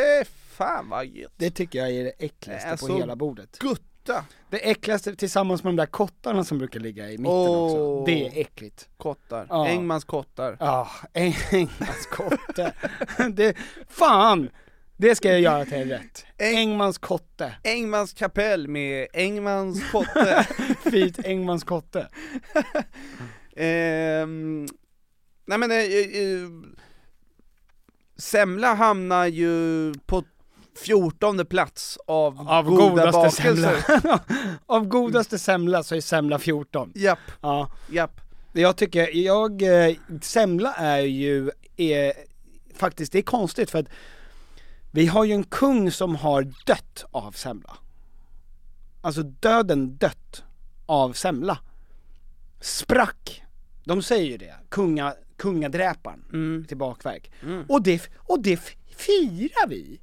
C: fan vad gött.
B: Det tycker jag är det äckligaste
C: Alltså,
B: på hela bordet.
C: Guttigt. kotta.
B: Det äckligaste tillsammans med de där kottarna som brukar ligga i mitten också.
C: Åh.
B: Det är äckligt.
C: Kottar.
B: Ja.
C: Engmans kottar.
B: Ja, Engmans kotte. [laughs] det, fan! Det ska jag göra till rätt. Engmans kotte.
C: Engmans kapell med Engmans
B: [laughs]
C: kotte.
B: Fint Engmans kotte.
C: Ehm, nej men, eh, eh, Semla hamnar ju på 14 plats av,
B: Av
C: goda
B: godaste
C: bakelser.
B: semla. [laughs] Av godaste semla så är semla 14.
C: Japp.
B: Ja.
C: Japp.
B: Jag tycker, jag, eh, semla är ju, är, faktiskt, det är konstigt för att vi har ju en kung som har dött av semla. Alltså döden dött av semla. Sprack. De säger ju det, Kunga, kungadräparen till bakverk. Och det, f- och det f- firar vi.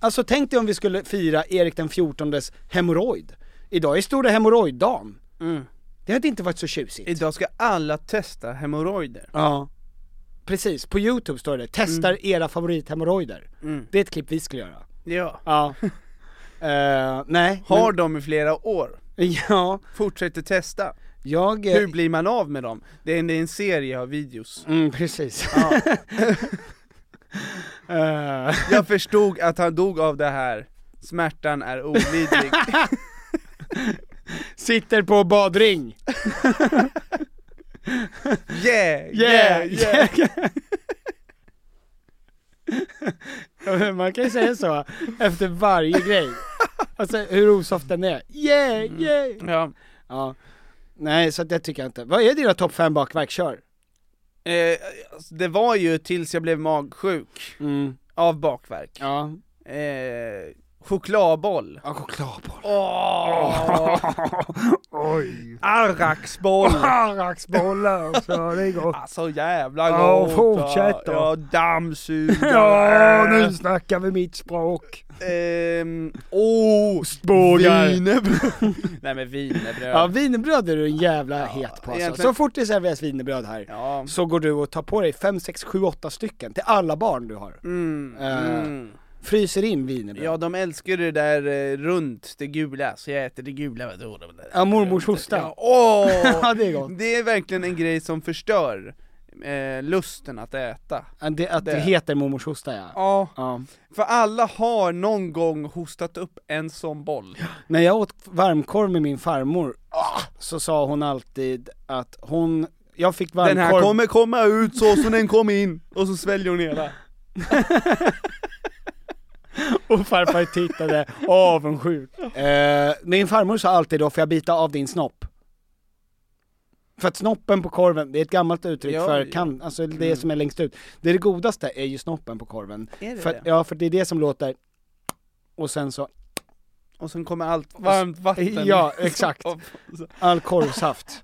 B: Alltså tänk dig om vi skulle fira Erik den XIVs hemorrojd. Idag är stora hemorrojddagen. Det hade inte varit så tjusigt.
C: Idag ska alla testa hemorrojder.
B: Ja. Mm. Precis, på youtube står det 'testar era favorithemorrojder'
C: Mm.
B: Det är ett klipp vi skulle göra.
C: Ja.
B: Ja. [laughs] Eh, nej.
C: Har
B: men-
C: dem i flera år.
B: [laughs] Ja.
C: Fortsätter testa.
B: Jag... eh,
C: Hur blir man av med dem? Det är en, det är en serie av videos.
B: Mm, precis. [laughs] Eh,
C: Jag förstod att han dog av det här. Smärtan är
B: [laughs]
C: olidlig.
B: Sitter på badring.
C: Yeah, yeah, yeah.
B: [laughs] Ja, men Man kan ju säga så, efter varje grej. Alltså hur osoft den är. Yeah, yeah!
C: Ja.
B: Ja. Nej, så att det tycker jag inte. Vad är dina topp fem bakverk? Kör!
C: Eh, alltså, det var ju tills jag blev magsjuk av bakverk.
B: Ja.
C: Eh, chokladboll.
B: Ja, chokladboll.
C: [laughs]
E: Oj!
C: Arraxboll.
E: Arraxbollar också, det är gott.
C: Alltså jävla
E: Ja,
C: gott.
E: fortsätt då.
C: Ja, dammsugare.
E: Ja, nu snackar vi mitt språk.
C: Ehm, åh!
B: Ostbågar.
C: Wienerbröd. [laughs] Nej men wienerbröd.
B: Ja, wienerbröd är du en jävla het på alltså.
C: egentligen-
B: Så fort det serveras wienerbröd här,
C: Ja.
B: så går du och tar på dig 5, 6, 7, 8 stycken till alla barn du har.
C: Mm,
B: Eh,
C: mm.
B: Fryser in wienerbröd.
C: Ja, de älskar det där eh, runt, det gula, så jag äter det gula. vad då, då, då.
B: Ja, mormors hosta.
C: Ja, Åh!
B: [laughs] Ja, det är gott.
C: det är verkligen en grej som förstör eh, lusten att äta.
B: Ja, Det, att det
C: Det.
B: heter mormors hosta ja.
C: Ja,
B: ja.
C: för alla har någon gång hostat upp en sån boll.
B: När jag åt varmkorv med min farmor, så sa hon alltid att hon, jag fick varmkorv
C: Den här kommer komma ut så som den kom in, och så sväljer hon
B: [laughs]
C: hela.
B: och [laughs] farfar tittade avundsjukt. Eh, min farmor sa alltid då, får jag bita av din snopp? För att snoppen på korven, det är ett gammalt uttryck
C: Ja,
B: för
C: ja. Mm.
B: kan, alltså det som är längst ut. Det är det godaste är ju snoppen på korven.
C: Är det
B: för,
C: det?
B: Ja, för det är det som låter och sen så,
C: Och sen kommer allt varmt vatten.
B: Ja,
C: [laughs]
B: exakt. all korvsaft.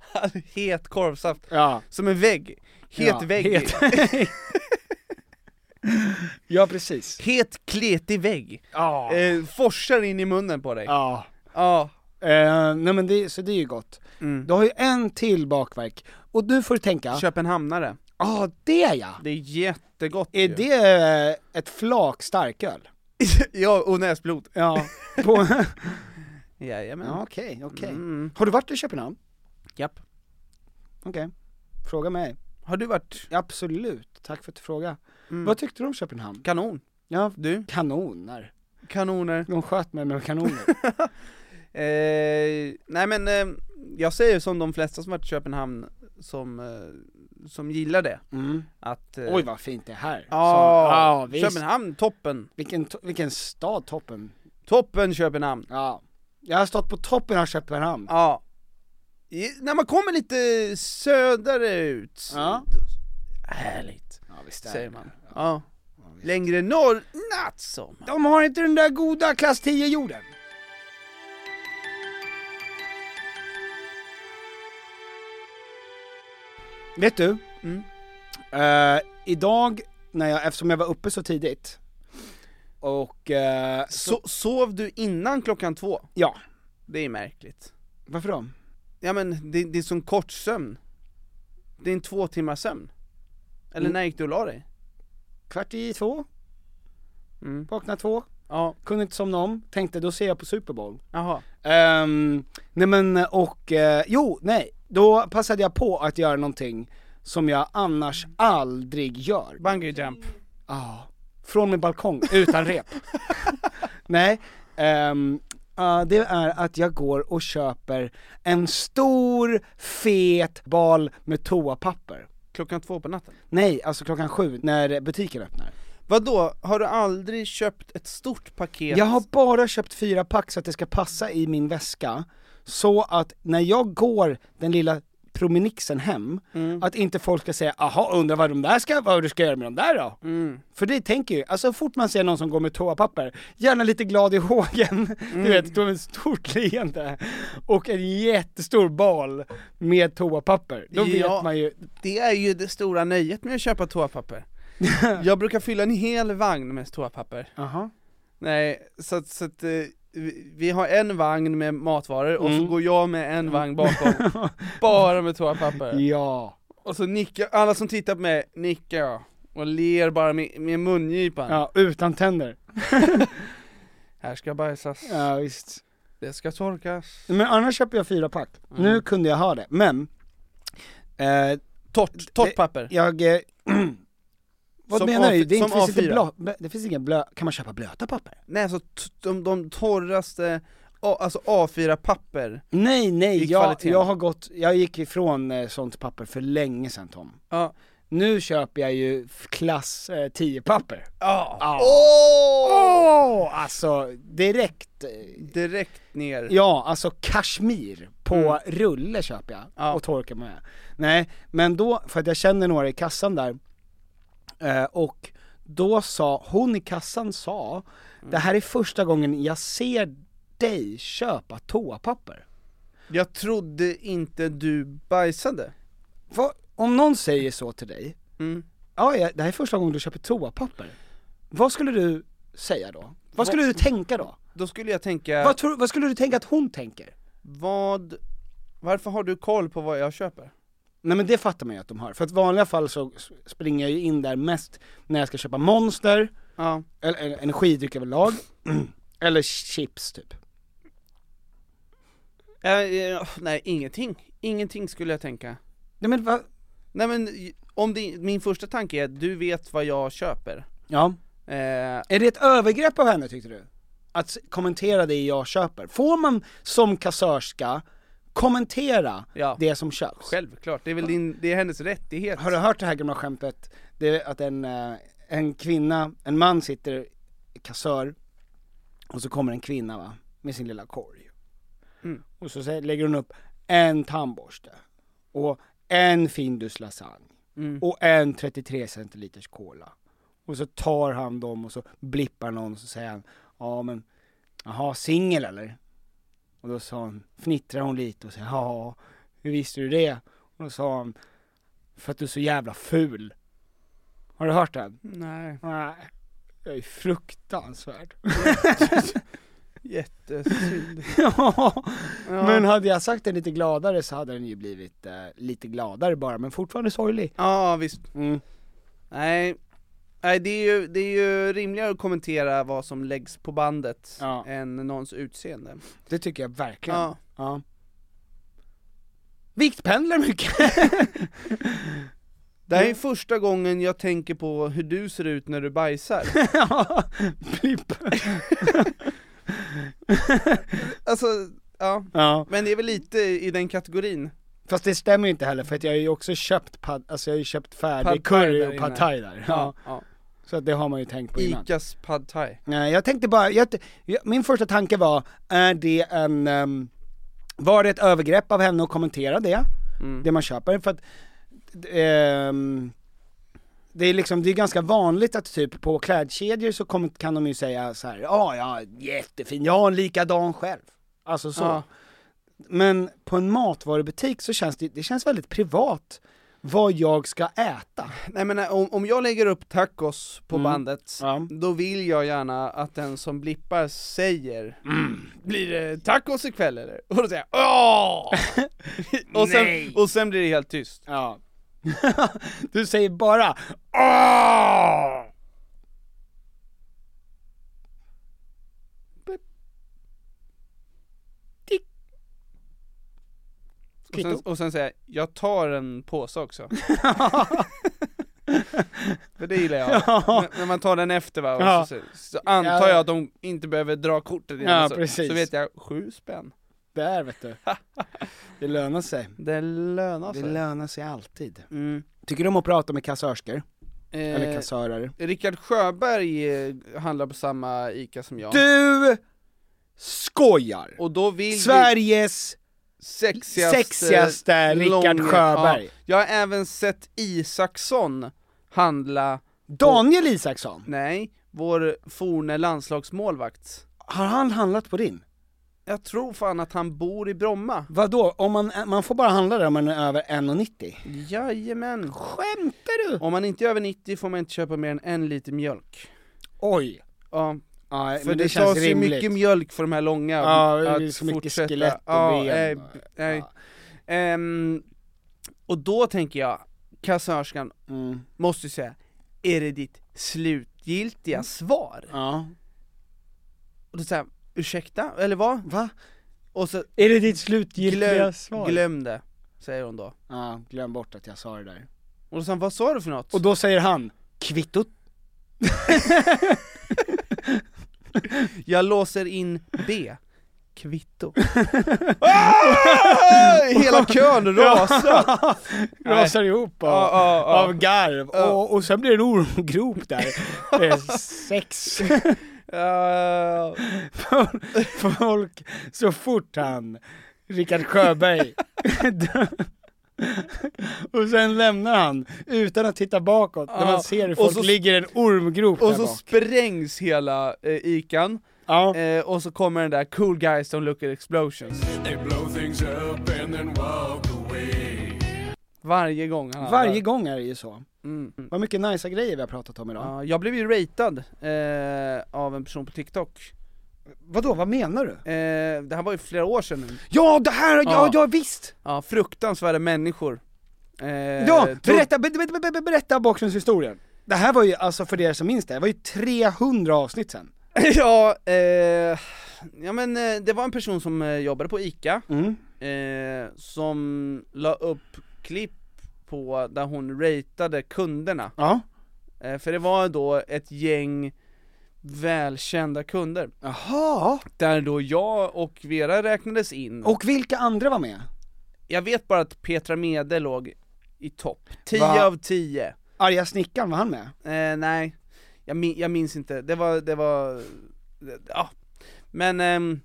C: Het korvsaft.
B: Ja,
C: Som en vägg. Het
B: ja,
C: vägg.
B: het. [laughs] ja, precis.
C: het kletig vägg.
B: Ja.
C: Eh, forsar in i munnen på dig. Ja. Mm.
B: Ja. Eh, nej men det, så det är ju gott. Du har ju en till bakverk, och nu får du tänka, ja
C: Köpenhamnare.
B: ah, det ja!
C: Det är jättegott
B: Är
C: ju.
B: det [laughs] eh, ett flak starköl?
C: ja, och näsblod. [laughs]
B: Ja. På... [laughs]
C: Jajamän.
B: ja, okej, okej.
C: Mm.
B: Har du varit i Köpenhamn?
C: Japp.
B: Okej. Fråga mig.
C: Har du varit?
B: Absolut, tack för att du frågade.
C: Mm.
B: Vad tyckte du om Köpenhamn?
C: Kanon.
B: Ja,
C: Du?
B: kanoner.
C: Kanoner.
B: De sköt mig med
C: [laughs]
B: kanoner.
C: Eh, nej men, eh, jag säger som de flesta som varit i Köpenhamn som, eh, som gillar det.
B: Mm.
C: Att, eh,
B: Oj vad fint det är här. Så-
C: Ja,
B: ja visst.
C: Köpenhamn, toppen.
B: Vilken, to- vilken stad, toppen.
C: Toppen Köpenhamn.
B: Ja. Jag har stått på toppen av Köpenhamn.
C: Ja. I, när man kommer lite södare ut.
B: Ja.
C: Härligt,
B: Ja, visst är
C: säger
B: det.
C: man. Ja. Längre norr, nattsommar.
B: De har inte den där goda klass 10-jorden. Vet du?
C: Mm.
B: Eh, idag, när jag, eftersom jag var uppe så tidigt, och eh, så,
C: So, sov du innan klockan två?
B: ja,
C: Det är märkligt.
B: varför då?
C: Ja men det, det är sån kort sömn. Det är en två timmars sömn.
B: Mm.
C: Eller när gick du och la dig?
B: Kvart i två?
C: Mm.
B: Vakna två? Kunde inte somna om, tänkte då ser jag på Super Bowl.
C: Jaha.
B: Ehm, nej men och, eh, jo nej, då passade jag på att göra någonting som jag annars aldrig gör.
C: Bungee jump.
B: Ja. Från min balkong, utan rep. nej, ehm, ja, det är att jag går och köper en stor fet bal med toapapper.
C: Klockan två på natten?
B: Nej, alltså klockan sju när butiken öppnar.
C: Vadå, har du aldrig köpt ett stort paket?
B: Jag har bara köpt fyra pack så att det ska passa i min väska, så att när jag går den lilla promenixen hem, att inte folk ska säga 'aha, undrar vad de där ska, vad du ska göra med de där då?' För det tänker ju, alltså så fort man ser någon som går med toapapper, gärna lite glad i hågen, [laughs] du vet, då med ett stort leende och en jättestor bal med toapapper. Då vet man ju,
C: det är ju det stora nöjet med att köpa
B: [laughs]
C: toapapper. jag brukar fylla en hel vagn med toapapper.
B: Aha.
C: Nej, så, att- så att eh, vi- vi har en vagn med matvaror och
B: Mm.
C: så går jag med en vagn
B: [laughs]
C: bakom, bara med toapapper.
B: ja.
C: Och så nickar, alla som tittar på mig nickar jag och ler bara med, med mungipan.
B: Ja, utan tänder.
C: Här ska bajsas,
B: Ja, Mm. visst.
C: det ska torkas.
B: Men annars köper jag fyra pack. Nu kunde jag ha det, men... Eh,
C: torrt, torrt papper?
B: Jag... Eh, [clears throat] vad
C: Som
B: menar du?
C: A4
B: Det, inte-
C: som
B: finns inte
C: A4.
B: blå- det finns inga blö... Kan man köpa blöta papper?
C: Nej alltså t- de, de torraste, A- alltså A4-papper.
B: Nej, nej,
C: I
B: jag,
C: kvaliteten.
B: jag har gått... Jag gick ifrån eh, sånt papper för länge sedan Tom.
C: Ja.
B: Nu köper jag ju f- klass eh, 10-papper.
C: Ja.
B: Ja. Åh, Alltså, direkt... eh,
C: Direkt ner.
B: Ja, alltså kashmir på rulle köper jag och torkar med. Nej, men då, för att jag känner några i kassan där, eh, och då sa, hon i kassan sa, det här är första gången jag ser dig köpa toapapper.
C: Jag trodde inte du bajsade.
B: Vad- om någon säger så till dig, ja ja, det här är första gången du köper toapapper, vad skulle du säga då? Vad skulle du tänka då?
C: Då skulle jag tänka,
B: Vad, tror, vad skulle du tänka att hon tänker?
C: vad, varför har du koll på vad jag köper?
B: Nej men det fattar man ju att de har, för att i vanliga fall så s- springer jag ju in där mest när jag ska köpa monster,
C: Ja.
B: eller, eller energidryck överlag, [clears throat] eller chips typ.
C: Eh, eh, nej, ingenting. Ingenting skulle jag tänka.
B: Nej men va?
C: Nej men, j- om det, min första tanke är att du vet vad jag köper.
B: Ja.
C: Eh,
B: Är det ett övergrepp av henne tyckte du? Att s- kommentera det jag köper? Får man som kassörska kommentera
C: Ja.
B: det som köps?
C: självklart, det är väl din, det är hennes rättighet.
B: Har du hört det här gamla skämtet? Det är att en, eh, en kvinna, en man sitter i kassör och så kommer en kvinna va, med sin lilla korg. Och så säger- lägger hon upp en tandborste och en Findus lasagne och en 33 centiliters cola. Och så tar han dem och så blippar någon och så säger han, ja men, jaha singel eller? Och då sa hon, fnittrar hon lite och säger, ja, hur visste du det? Och då sa han, för att du är så jävla ful. Har du hört den?
C: Nej,
B: Nej. Jag
C: [laughs]
B: är fruktansvärd.
C: jättesynd.
B: ja. Men hade jag sagt det lite gladare så hade den ju blivit eh, lite gladare bara, men fortfarande sorglig.
C: Ja, visst.
B: Mm.
C: Nej, Nej det, är ju, det är ju rimligare att kommentera vad som läggs på bandet
B: Ja.
C: än någons utseende.
B: Det tycker jag verkligen.
C: Ja.
B: Ja.
C: [laughs]
B: Viktpendlar mycket.
C: Det här är första gången jag tänker på hur du ser ut när du [laughs] bajsar.
B: ja, blipp.
C: alltså, ja.
B: ja.
C: Men det är väl lite i den kategorin.
B: Fast det stämmer ju inte heller för att jag har ju också köpt, pad, alltså jag har ju
C: Pad
B: köpt
C: thai
B: färdig curry
C: där
B: och pad
C: inne.
B: thai där. Ja. Så att det har man ju tänkt på innan.
C: Icas pad thai.
B: Nej, jag tänkte bara, jag, jag- min första tanke var, är det en, ehm, var det ett övergrepp av henne att kommentera det? Det man köper, för att ehm, det är liksom, det är ganska vanligt att typ på klädkedjor så kommer, kan de ju säga så här, ja ja, jättefin, jag har en likadan själv. Alltså så.
C: Ja.
B: Men på en matvarubutik så känns det, det känns väldigt privat vad jag ska äta.
C: Nej men eh, om, om jag lägger upp tacos
L: Mm.
C: på bandet,
B: Ja.
C: då vill jag gärna att den som blippar säger
L: Mm.
C: Blir det tacos ikväll eller? Och då säger
L: [laughs]
C: jag "Ja!" och, sen, och sen blir det helt tyst.
B: Ja. [laughs] du
C: [laughs]
B: säger bara Åh!
C: Och sen, och sen säger jag, jag tar en påse också. För det gillar jag.
L: [laughs] Ja.
C: N- När man tar den efter va, och
L: Ja.
C: så, så antar jag
L: Ja.
C: att de inte behöver dra kortet innan.
L: Ja,
C: så,
L: precis.
C: så vet jag, sju spänn.
B: Där vet du. Det lönar sig.
C: Det lönar
B: Det lönar sig alltid.
C: Mm.
B: Tycker du om att prata med kassörskor?
C: Eh,
B: Eller kassörer?
C: Rickard Sjöberg eh, handlar på samma ICA som jag.
B: Du skojar!
C: Och då vill
B: Sveriges
C: sexigaste,
B: sexigaste Rickard
C: långa-
B: Sjöberg.
C: Ja, jag har även sett Isaksson handla
B: Daniel Isaksson?
C: Nej, vår forne landslagsmålvakt
B: Har han handlat på din?
C: Jag tror fan att han bor i Bromma
B: Vadå, om man, man får bara handla där om man är över 1,90?
C: Jajamän!
B: Skämtar du?
C: Om man inte är över 90 får man inte köpa mer än en liter mjölk
B: Oj!
C: Ja,
B: Ja,
C: för
B: men
C: det,
B: det
C: det
B: känns
C: tas ju
B: rimligt.
C: mycket mjölk för de här långa
B: Ja, det
C: att
B: är så mycket
C: fortsätta.
B: skelett och
C: ja,
B: ben
C: nej,
B: och-
C: b- nej. Ehm, och då tänker jag, kassörskan måste ju säga, är det ditt slutgiltiga svar?
B: Ja.
C: Och då säger jag, ursäkta, eller vad?
B: Va?
C: Och så,
L: Är det ditt slutgiltiga
C: glöm,
L: svar?
C: Glöm det, säger hon då.
B: Ja, glöm bort att jag sa det där.
C: Och då sa han, vad sa du för något?
B: Och då säger han, kvittot.
C: [laughs]
B: [laughs]
C: Jag låser in B. Kvitto. Hela kön rasar.
B: [laughs] Rasar ihop av,
C: Ja, ja, ja.
B: av garv, och, och sen blir det en ormgrop där. Det är sex.
C: Ja.
B: Folk, så fort han, Rickard Sjöberg, [laughs] och sen lämnar han utan att titta bakåt, när man
C: Ja,
B: ser
C: och
B: hur folk
C: så-
B: ligger i en ormgrop
C: och
B: där
C: så
B: bak.
C: sprängs hela eh, ikan.
B: Ja.
C: Eh, och så kommer den där cool guys don't look at explosions. Varje gång han handlar.
B: Varje gång är det ju så.
C: Mm.
B: Vad mycket nicea grejer vi har pratat om idag.
C: Ja, jag blev ju ratad eh, av en person på TikTok.
B: Vadå, vad menar du?
C: Eh, det här var ju flera år sedan nu.
B: Ja, det här, ja, ja,
C: Ja.
B: visst!
C: Ja, fruktansvärda människor. Eh,
B: Ja,
C: tog-
B: berätta, be, be, be, be, berätta bakgrundshistorien. Det här var ju, alltså för er som minns det, det var ju 300 avsnitt sen.
C: [laughs] ja, eh, ja men eh, det var en person som eh, jobbade på ICA,
B: Mm.
C: eh, som la upp klipp på där hon ratade kunderna.
B: Ja.
C: Eh, för det var då ett gäng välkända kunder,
B: Jaha,
C: där då jag och Vera räknades in.
B: och vilka andra var med?
C: Jag vet bara att Petra Mede låg i topp, 10
B: Va?
C: av 10.
B: Arga snickaren, var han med?
C: Eh, nej, jag, min, jag minns inte, det var, det var, ja. Men, ehm,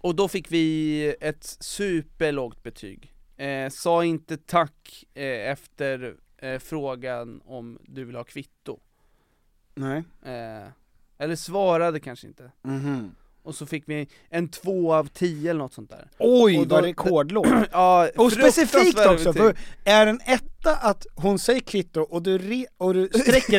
C: och då fick vi ett superlågt betyg. Eh, sa inte tack eh, efter eh, frågan om du vill ha kvitto.
B: Nej.
C: Eh, eller svarade kanske inte. Och så fick vi en två av tio eller något sånt
B: [clears throat]
C: där.
B: Oj,
C: Och då- [clears throat]
B: vad rekordlågt.
C: Ja,
B: Och specifikt
C: fruktansvärda
B: också,
C: betyg.
B: för är en etta att hon säger kvitto och du, re, och du sträcker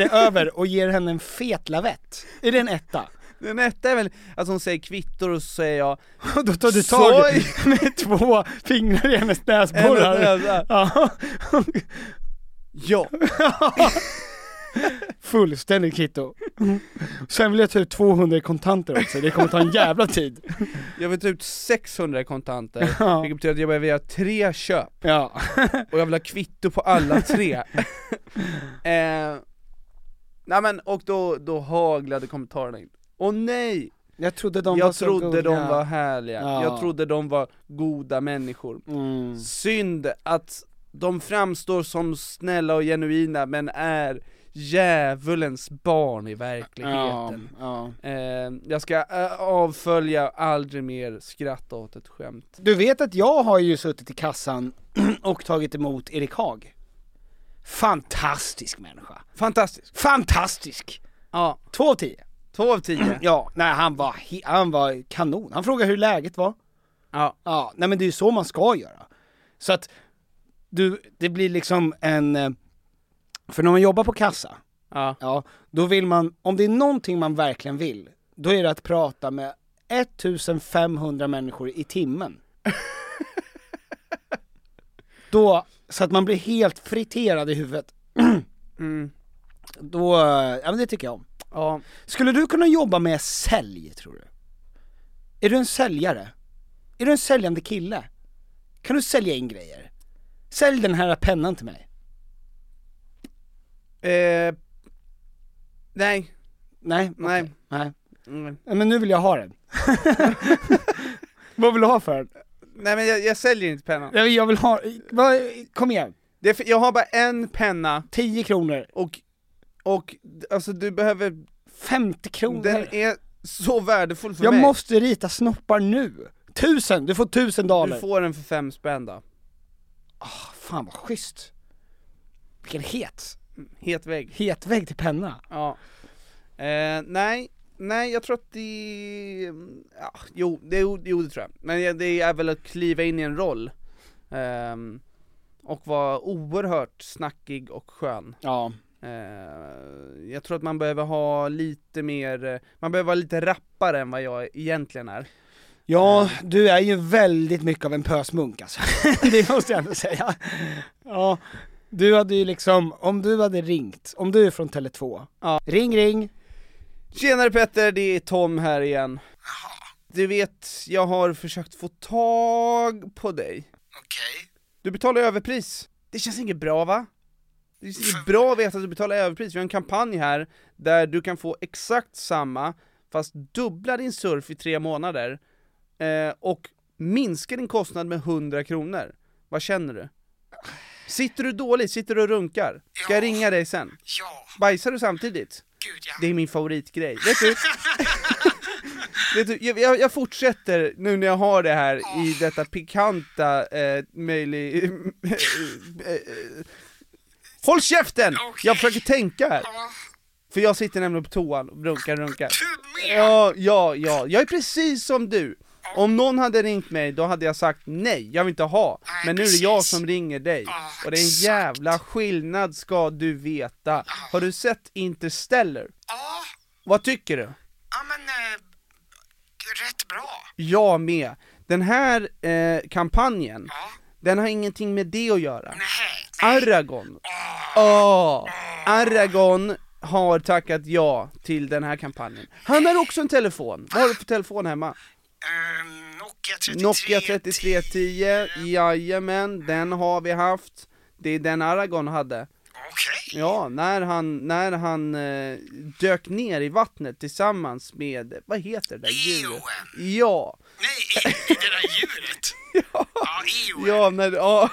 C: [laughs]
B: dig över och ger henne en fet lavett? Är det en etta?
C: Den etta är väl att hon säger kvittor och så säger jag
B: Och då tar du tag [laughs]
C: Soj!
B: med två fingrar i
C: [laughs]
B: hennes näsborrar.
C: Eller-
B: Ja.
C: Ja,
B: [laughs] Fullständigt kvitto. Sen vill jag ta ut 200 i kontanter också, det kommer ta en jävla tid.
C: jag vill ta ut 600 i kontanter,
B: [laughs] Ja.
C: vilket betyder att jag behöver göra tre köp,
B: Ja.
C: och jag vill ha kvitto på alla
B: [laughs]
C: tre eh, Nej men, och då, då haglade kommentarerna in Åh nej!
B: Jag trodde de var
C: jag
B: så
C: trodde de
B: gulliga.
C: var härliga,
B: Ja.
C: jag trodde de var goda människor
B: Mm.
C: Synd att de framstår som snälla och genuina men är djävulens barn i
B: Ja,
C: verkligheten
B: ja.
C: Eh, jag ska eh, avfölja och aldrig mer skratta åt ett skämt.
B: Du vet att jag har ju suttit i kassan [clears throat] och tagit emot Erik Haag. Fantastisk människa.
C: Fantastiskt!
B: Fantastisk!
C: Ja,
B: Två av tio.
C: två av tio.
B: Ja, nej han var, he- han var kanon. Han frågade hur läget var.
C: Ja.
B: Ja, nej men det är ju så man ska göra. Så att, du, det blir liksom en, eh, för när man jobbar på kassa,
C: Ja.
B: ja, då vill man, om det är någonting man verkligen vill, då är det att prata med 1500 människor i timmen. då, så att man blir helt friterad i huvudet. Då, eh, ja men det tycker jag om.
C: ja.
B: Skulle du kunna jobba med sälj, tror du? Är du en säljare? Är du en säljande kille? Kan du sälja in grejer? Sälj den här pennan till mig.
C: Eh, nej.
B: Nej,
C: nej.
B: Nej.
C: Mm.
B: Ja, Men nu vill jag ha den. [laughs] Vad vill du ha för den?
C: Nej men jag, jag säljer inte pennan.
B: Jag vill, jag vill ha, vad- kom igen.
C: Det är för, jag har bara en penna.
B: 10 kronor.
C: Och, och d- alltså du behöver...
B: 50 kronor.
C: Den är så värdefull för
B: Jag
C: mig.
B: måste rita snoppar nu. Tusen, du får tusen dollar.
C: Du
B: Ah,
C: får den för fem spänn då.
B: Fan vad schysst. Vilken het.
C: Het vägg.
B: Het vägg till penna.
C: Ja. Eh, nej, nej jag tror att det... mm, Ja, jo, det, jo det tror jag. Men jag- det är väl att kliva in i en roll. Ehm, och vara oerhört snackig och skön.
B: Ja.
C: Eh, jag tror att man behöver ha lite mer, eh, man behöver vara lite rappare än vad jag egentligen är.
B: Ja,
C: Ehm.
B: du är ju väldigt mycket av en pösmunk alltså. [laughs] det måste jag ändå säga. Ja, du hade ju liksom, om du hade ringt, om du är från Tele2.
C: Ja. [laughs]
B: Ring ring.
C: Tjenare Petter, det är Tom här igen. Du vet, jag har försökt få tag på dig. Okej. Du betalar överpris. Det känns inget bra va? Det känns inget bra att veta att du betalar överpris. Vi har en kampanj här där du kan få exakt samma, fast dubbla din surf i tre månader eh, och minska din kostnad med 100 kronor. Vad känner du? Sitter du dåligt? Sitter du och runkar? Ska jag ringa dig sen?
B: Ja.
C: Bajsar du samtidigt? Det är min favoritgrej. Vet du? Vet du, jag, jag- jag fortsätter nu när jag har det här i detta pikanta eh, möjlig... eh, Håll käften! Jag försöker tänka här. För jag sitter nämligen på toan och runkar, runkar. Ja, ja, ja. Jag är precis som du. Om någon hade ringt mig, då hade jag sagt nej, jag vill inte ha. Men nu är det jag som ringer dig. Och det är en jävla skillnad ska du veta. Har du sett Interstellar? Vad tycker du? eh, Jag med. Den här eh, kampanjen, den har ingenting med det att göra. Aragon. Åh, Aragon har tackat ja till den här kampanjen. Han har också en telefon. Vad har du för telefon hemma? Ehm, Nokia 3310, jajamän, den har vi haft. Det är den Aragon hade. Ja, när han, när han eh, dök ner i vattnet tillsammans med, vad heter det där djuret? Ja. [laughs] Nej, det där djuret? ja, ja, när, ja.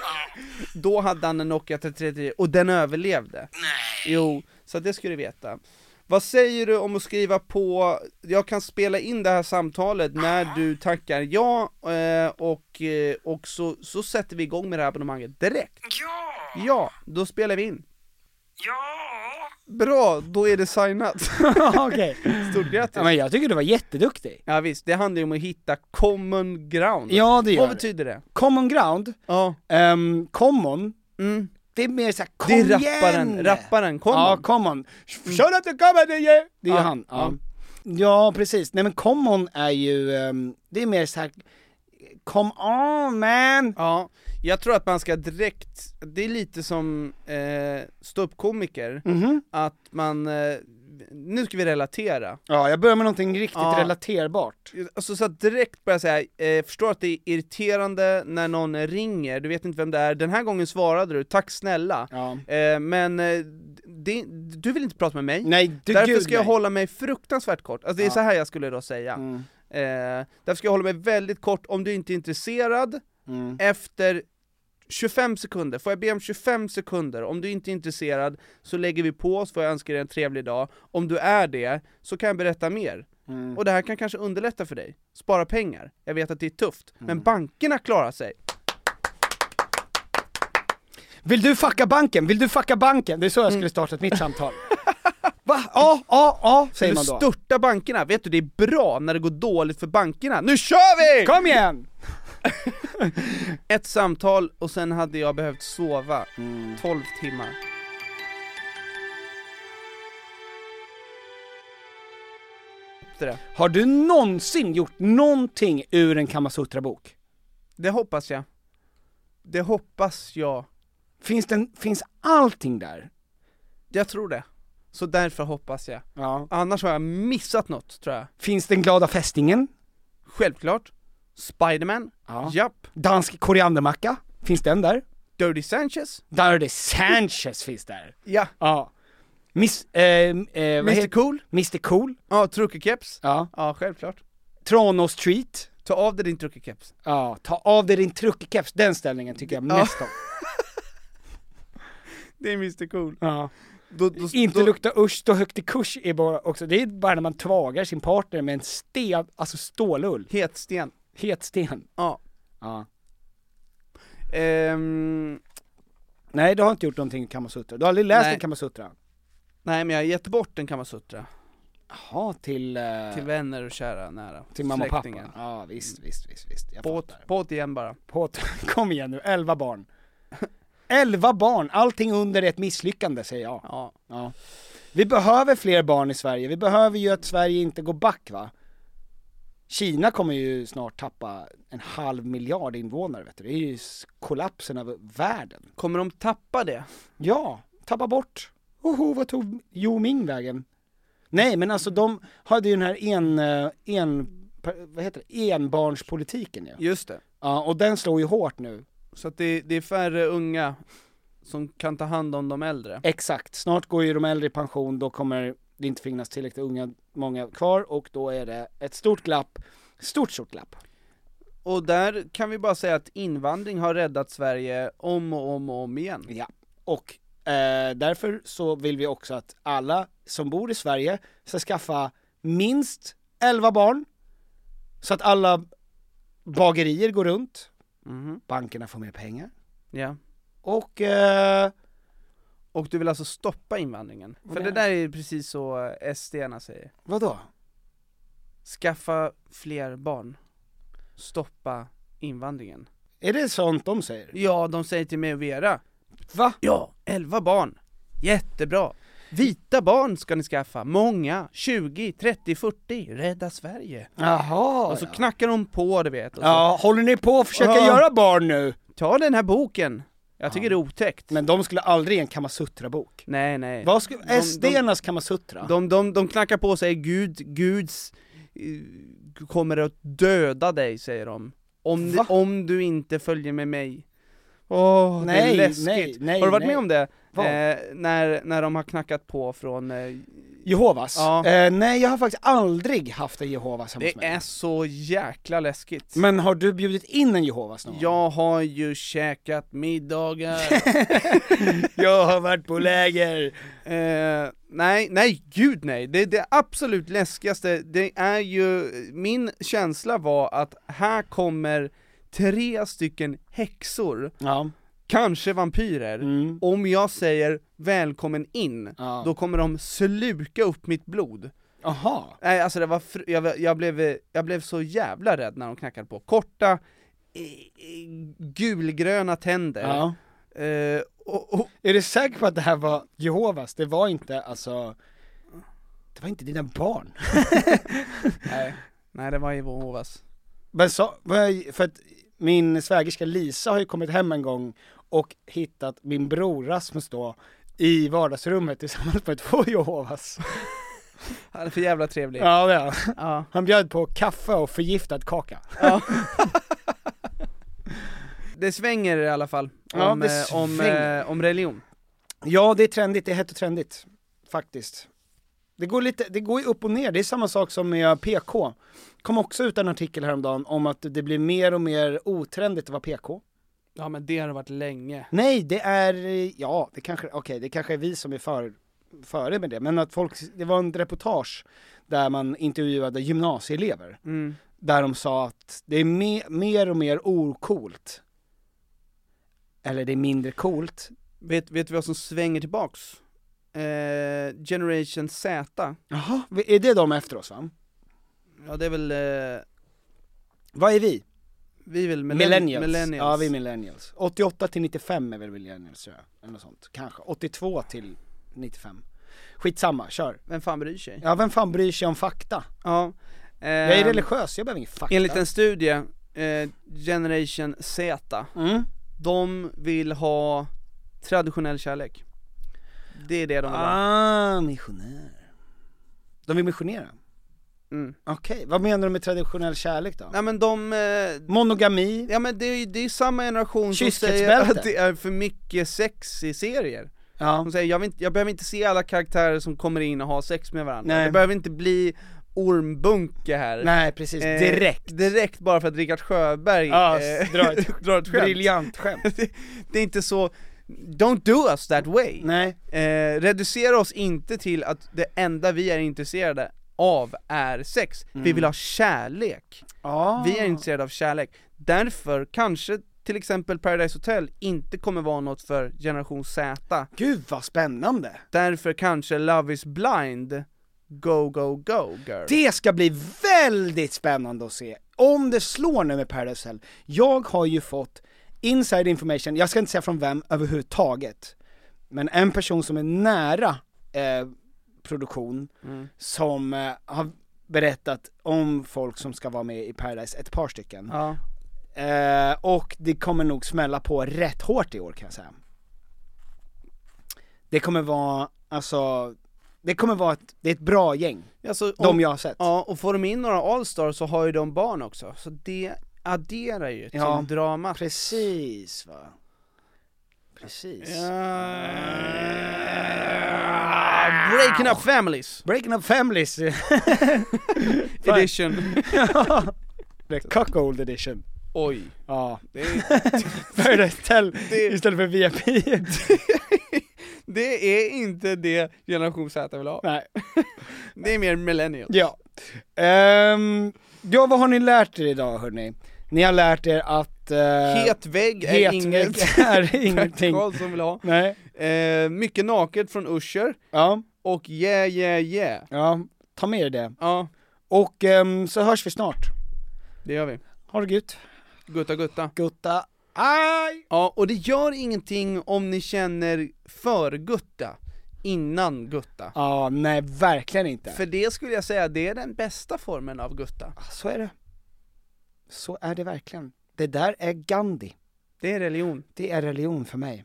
C: Då hade han en Nokia 3310 och den överlevde. Nej. Jo, så det ska du veta. Vad säger du om att skriva på, jag kan spela in det här samtalet när du tackar ja eh, och, eh, och så, så sätter vi igång med det här abonnemanget direkt. Ja! Ja, då spelar vi in. Ja! Bra, då är det signat. [laughs]
B: Okej.
C: Stort grattis.
B: Ja, men jag tycker du var jätteduktig.
C: Ja visst, det handlar ju om att hitta common ground.
B: Ja, det gör
C: Vad
B: det.
C: betyder det?
B: Common ground,
C: Ja.
B: um, common,
C: Mm.
B: det är mer såhär kom
C: Det är
B: igen!
C: rapparen, rapparen, common.
B: Ja, common. Kör att du kommer det är Det är
C: Ja,
B: ju han. Ja.
C: ja.
B: ja, precis. Nej men common är ju, ehm, det är mer såhär, come on man!
C: Ja, jag tror att man ska direkt, det är lite som eh, ståuppkomiker,
B: Mhm.
C: att man, eh, nu ska vi relatera.
B: Ja, jag börjar med någonting riktigt
C: Ja.
B: relaterbart.
C: Alltså så att direkt börja säga, eh, förstår att det är irriterande när någon ringer, du vet inte vem det är, den här gången svarade du, tack snälla.
B: Ja.
C: Eh, men eh, det, du vill inte prata med mig,
B: Nej, du
C: därför
B: gud,
C: ska jag
B: nej.
C: hålla mig fruktansvärt kort. Alltså det är så här jag skulle då säga.
B: Mm.
C: Eh, därför ska jag hålla mig väldigt kort, om du inte är intresserad,
B: mm. Eh,
C: efter 25 sekunder, får jag be om 25 sekunder? Om du inte är intresserad så lägger vi på oss, får jag önska dig en trevlig dag. Om du är det, så kan jag berätta mer.
B: Mm.
C: Och det här kan kanske underlätta för dig. Spara pengar. Jag vet att det är tufft, men
B: Mm.
C: bankerna klarar sig.
B: Vill du fucka banken? Vill du fucka banken? Det är så jag skulle startat mitt [laughs] samtal. Va? Ja, ja, ja, säger
C: Du
B: man då.
C: störta bankerna, vet du det är bra när det går dåligt för bankerna. Nu kör vi!
B: Kom igen!
C: Ett samtal och sen hade jag behövt sova
B: Mm.
C: 12 timmar. Det,
B: Har du någonsin gjort någonting ur en Kamasutra-bok?
C: det hoppas jag. Det hoppas jag.
B: Finns, den, finns allting där?
C: Jag tror det. Så därför hoppas jag.
B: Ja.
C: Annars har jag missat något, tror jag.
B: Finns den glada fästingen?
C: Självklart. Spiderman,
B: Ja.
C: japp.
B: Dansk koriandermacka, finns den där?
C: Dirty Sanchez?
B: Dirty Sanchez finns där.
C: Ja.
B: Ja. Miss, eh, eh, vad
C: Mr
B: heter-
C: Cool?
B: Mr Cool.
C: Ja, truckerkeps?
B: Ja.
C: Ja, självklart.
B: Trono Street.
C: Ta av dig din truckerkeps.
B: Ja, ta av dig din truckerkeps, den ställningen tycker jag mest om.
C: Det är Mr Cool.
B: [laughs] Ja.
C: Då, då,
B: Inte
C: då,
B: lukta usch, stå högt i kurs är bara också, det är bara när man tvagar sin partner med en sten, alltså stålull.
C: Hetsten.
B: Het sten.
C: Ja.
B: Ja.
C: Ehm,
B: Nej, du har inte gjort någonting i Kamasutra. Du har aldrig läst
C: Nej.
B: en Kamasutra?
C: nej men jag har gett bort en kamasutra.
B: Jaha, till, eh,
C: Till
B: till,
C: vänner och kära nära.
B: mamma och
C: släktingar.
B: pappa? Ja, visst, visst, visst, visst. Jag
C: Båt,
B: fattar.
C: båt igen bara.
B: Båt. [laughs] Kom igen nu, elva barn. Elva barn, allting under är ett misslyckande säger jag.
C: Ja.
B: Ja. Vi behöver fler barn i Sverige, vi behöver ju att Sverige inte går back va? Kina kommer ju snart tappa en halv miljard invånare vet du, det är ju s- kollapsen av världen.
C: Kommer de tappa det?
B: Ja, tappa bort. Oho, vad tog Jo Ming vägen? Nej men alltså de hade ju den här en, eh, en, vad heter det, enbarnspolitiken ju.
C: Just det.
B: Ja, och den slår ju hårt nu.
C: Så att det, det är färre unga som kan ta hand om de äldre.
B: Exakt, snart går ju de äldre i pension, då kommer det inte finnas tillräckligt unga, många kvar och då är det ett stort glapp, stort stort glapp.
C: Och där kan vi bara säga att invandring har räddat Sverige om och om och om igen.
B: Ja. Och eh, därför så vill vi också att alla som bor i Sverige ska skaffa minst 11 barn, så att alla bagerier går runt, Mm-hmm.
C: Mhm.
B: bankerna får mer pengar
C: Ja.
B: och eh,
C: Och du vill alltså stoppa invandringen? För
B: det-
C: det där är ju precis så SD-arna säger.
B: vadå?
C: Skaffa fler barn. Stoppa invandringen.
B: Är det sånt de säger?
C: Ja, de säger till mig och Vera.
B: Va?
C: Ja, 11 barn. Jättebra. Vita barn ska ni skaffa. Många. 20, 30, 40. Rädda Sverige.
B: Jaha,
C: Och så
B: ja.
C: knackar de på, du vet. Och så,
B: ja, håller ni på att försöka
C: Ja.
B: göra barn nu?
C: ta den här boken. Jag tycker det är otäckt.
B: Men de skulle aldrig ge en Kamasutra-bok.
C: Nej, nej.
B: Vad skulle,
C: de-
B: SD-ernas Kamasutra?
C: De, de, de knackar på och säger Gud, Guds eh, kommer att döda dig, säger de. Om,
B: Va?
C: om du inte följer med mig. Åh, det
B: Nej,
C: är läskigt.
B: nej, nej,
C: har du varit
B: nej.
C: med om det?
B: Vad?
C: Eh, när, när de har knackat på från... Eh,
B: Jehovas?
C: Ja.
B: Eh, nej, jag har faktiskt aldrig haft en Jehovas hemma hos
C: det
B: mig.
C: är så jäkla läskigt.
B: Men har du bjudit in en Jehovas någon gång?
C: Jag har ju käkat
B: [laughs]
C: middagar.
B: jag har varit på läger!
C: Eh, nej, nej, gud nej. Det, det absolut läskigaste, det är ju, min känsla var att här kommer tre stycken häxor,
B: Ja.
C: kanske vampyrer.
B: Mm.
C: Om jag säger välkommen in,
B: Ja.
C: då kommer de sluka upp mitt blod.
B: Aha.
C: Nej alltså det var, fr- jag, var- jag, blev, jag blev så jävla rädd när de knackade på. Korta, i- i- gulgröna tänder.
B: Ja.
C: Eh, och, och,
B: Är du säker på att det här var Jehovas? Det var inte alltså... Det var inte dina barn?
C: nej, nej det var Jehovas.
B: Men så, vad jag- för att min svägerska Lisa har ju kommit hem en gång och hittat min bror Rasmus då i vardagsrummet tillsammans med två Jehovas.
C: Han är för jävla trevlig.
B: Ja, det är han.
C: Ja.
B: Han bjöd på kaffe och förgiftad kaka.
C: Det svänger i alla fall, om,
B: Ja, det
C: eh, om,
B: svänger.
C: eh, om religion.
B: Ja, det är trendigt, det är hett och trendigt. Faktiskt. Det går, lite, det går ju upp och ner, det är samma sak som med PK. kom också ut en artikel häromdagen om att det blir mer och mer otrendigt att vara PK.
C: Ja men det har det varit länge.
B: Nej, det är, ja, det kanske, okej, det kanske är vi som är för, före med det, men att folk, det var en reportage där man intervjuade gymnasieelever,
C: Mm.
B: där de sa att det är me, mer och mer ocoolt. Eller det är mindre coolt.
C: Vet, vet vi vad som svänger tillbaks? Eh, Generation Z,
B: Jaha, är det de efter oss va?
C: ja det är väl, eh,
B: Vad är vi?
C: vi är väl millenn-
B: Millennials.
C: millennials.
B: Ja, vi är millennials. 88 till 95 är väl millennials tror jag, eller något sånt. Kanske. 82 till 95. Skitsamma, kör.
C: Vem fan bryr sig?
B: Ja, vem fan bryr sig om fakta?
C: Ja.
B: Jag är
C: ehm,
B: religiös, jag behöver ingen fakta.
C: Enligt en studie, eh, Generation Z,
B: Mm.
C: de vill ha traditionell kärlek. Det är det de vill ha.
B: Ah, missionär. De vill missionera. Okej, vad menar du med traditionell kärlek då?
C: Mm. Nej men de... Eh,
B: Monogami?
C: Ja men det är ju det är ju samma generation som säger
B: Kyskhetsbälte.
C: att det är för mycket sex i serier. De säger jag, vill inte, jag behöver inte se alla karaktärer som kommer in och har sex med varandra.
B: Nej.
C: Det behöver inte bli ormbunke här.
B: Nej, precis.
C: eh,
B: Direkt.
C: Direkt bara för att Rickard Sjöberg
B: Ja, drar ett-
C: drar ett eh, [laughs] skämt.
B: briljant skämt.
C: det, det är inte så... Don't do us that way!
B: Nej.
C: Eh, reducera oss inte till att det enda vi är intresserade av är sex. Vi
B: Mm.
C: vill ha kärlek. Vi
B: Ah.
C: är intresserade av kärlek. Därför kanske till exempel Paradise Hotel inte kommer vara något för generation Z.
B: Gud vad spännande!
C: Därför kanske Love is blind, go go go girl.
B: Det ska bli väldigt spännande att se om det slår nu med Paradise Hotel. Jag har ju fått inside information, jag ska inte säga från vem överhuvudtaget, men en person som är nära eh, produktion
C: Mm.
B: som eh, har berättat om folk som ska vara med i Paradise, ett par stycken.
C: Ja.
B: Eh, och det kommer nog smälla på rätt hårt i år kan jag säga. Det kommer vara, alltså, det kommer vara ett, det är ett bra gäng.
C: Alltså,
B: de
C: om-
B: jag har sett.
C: Ja, och får de in några Allstars så har ju de barn också, så det adderar ju till
B: Ja,
C: dramat.
B: precis va. Precis.
C: Ah, Breaking up families!
B: Breaking up families! [laughs]
C: Edition.
B: The cuckold edition.
C: Oj.
B: Ja. [laughs]
C: Det är,
B: Paradise Hotel istället för VIP.
C: det är inte det generation Z vill ha.
B: [laughs] Nej.
C: Det är mer millennial.
B: ja. Ehm, ja, vad har ni lärt er idag hörni? Ni har lärt er att... Uh,
C: Het vägg är inget [laughs]
B: är ingenting.
C: Bert Karlsson vill ha.
B: Nej.
C: Eh, mycket naket från Usher.
B: Ja.
C: Och yeah yeah yeah.
B: Ja, ta med er det.
C: Ja.
B: Och ehm, så hörs vi snart.
C: Det gör vi.
B: Ha det gött.
C: Gutta gutta.
B: Gutta. Aj!
C: Ja, och det gör ingenting om ni känner för gutta innan gutta.
B: Ja, nej verkligen inte.
C: För det skulle jag säga, det är den bästa formen av gutta.
B: Så är det. Så är det verkligen. Det där är Gandhi.
C: Det är religion.
B: Det är religion för mig.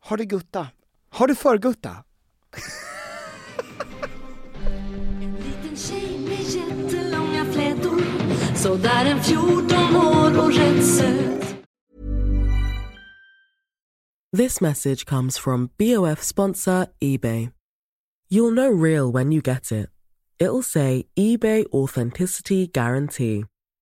B: Har du gutta? Har du för gutta?
M: liten tjej med jättelånga flätor Sådär en 14 år och rätt söt
G: This message comes from BOF sponsor eBay. You'll know real when you get it. It'll say eBay Authenticity Guarantee.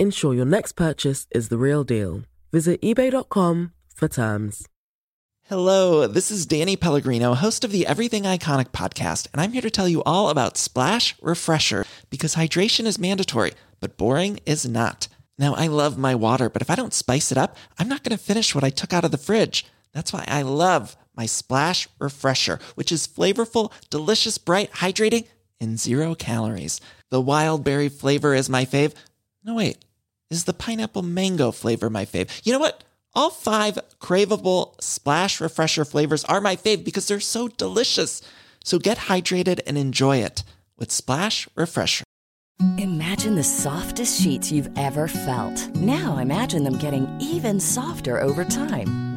G: Ensure your next purchase is the real deal. Visit eBay.com for terms.
N: Hello, this is Danny Pellegrino, host of the Everything Iconic podcast, and I'm here to tell you all about Splash Refresher because hydration is mandatory, but boring is not. Now, I love my water, but if I don't spice it up, I'm not going to finish what I took out of the fridge. That's why I love my Splash Refresher, which is flavorful, delicious, bright, hydrating, and zero calories. The wild berry flavor is my fave. No, wait. Is the pineapple mango flavor my fave? You know what? All five craveable splash refresher flavors are my fave because they're so delicious. So get hydrated and enjoy it with Splash Refresher.
O: Imagine the softest sheets you've ever felt. Now imagine them getting even softer over time.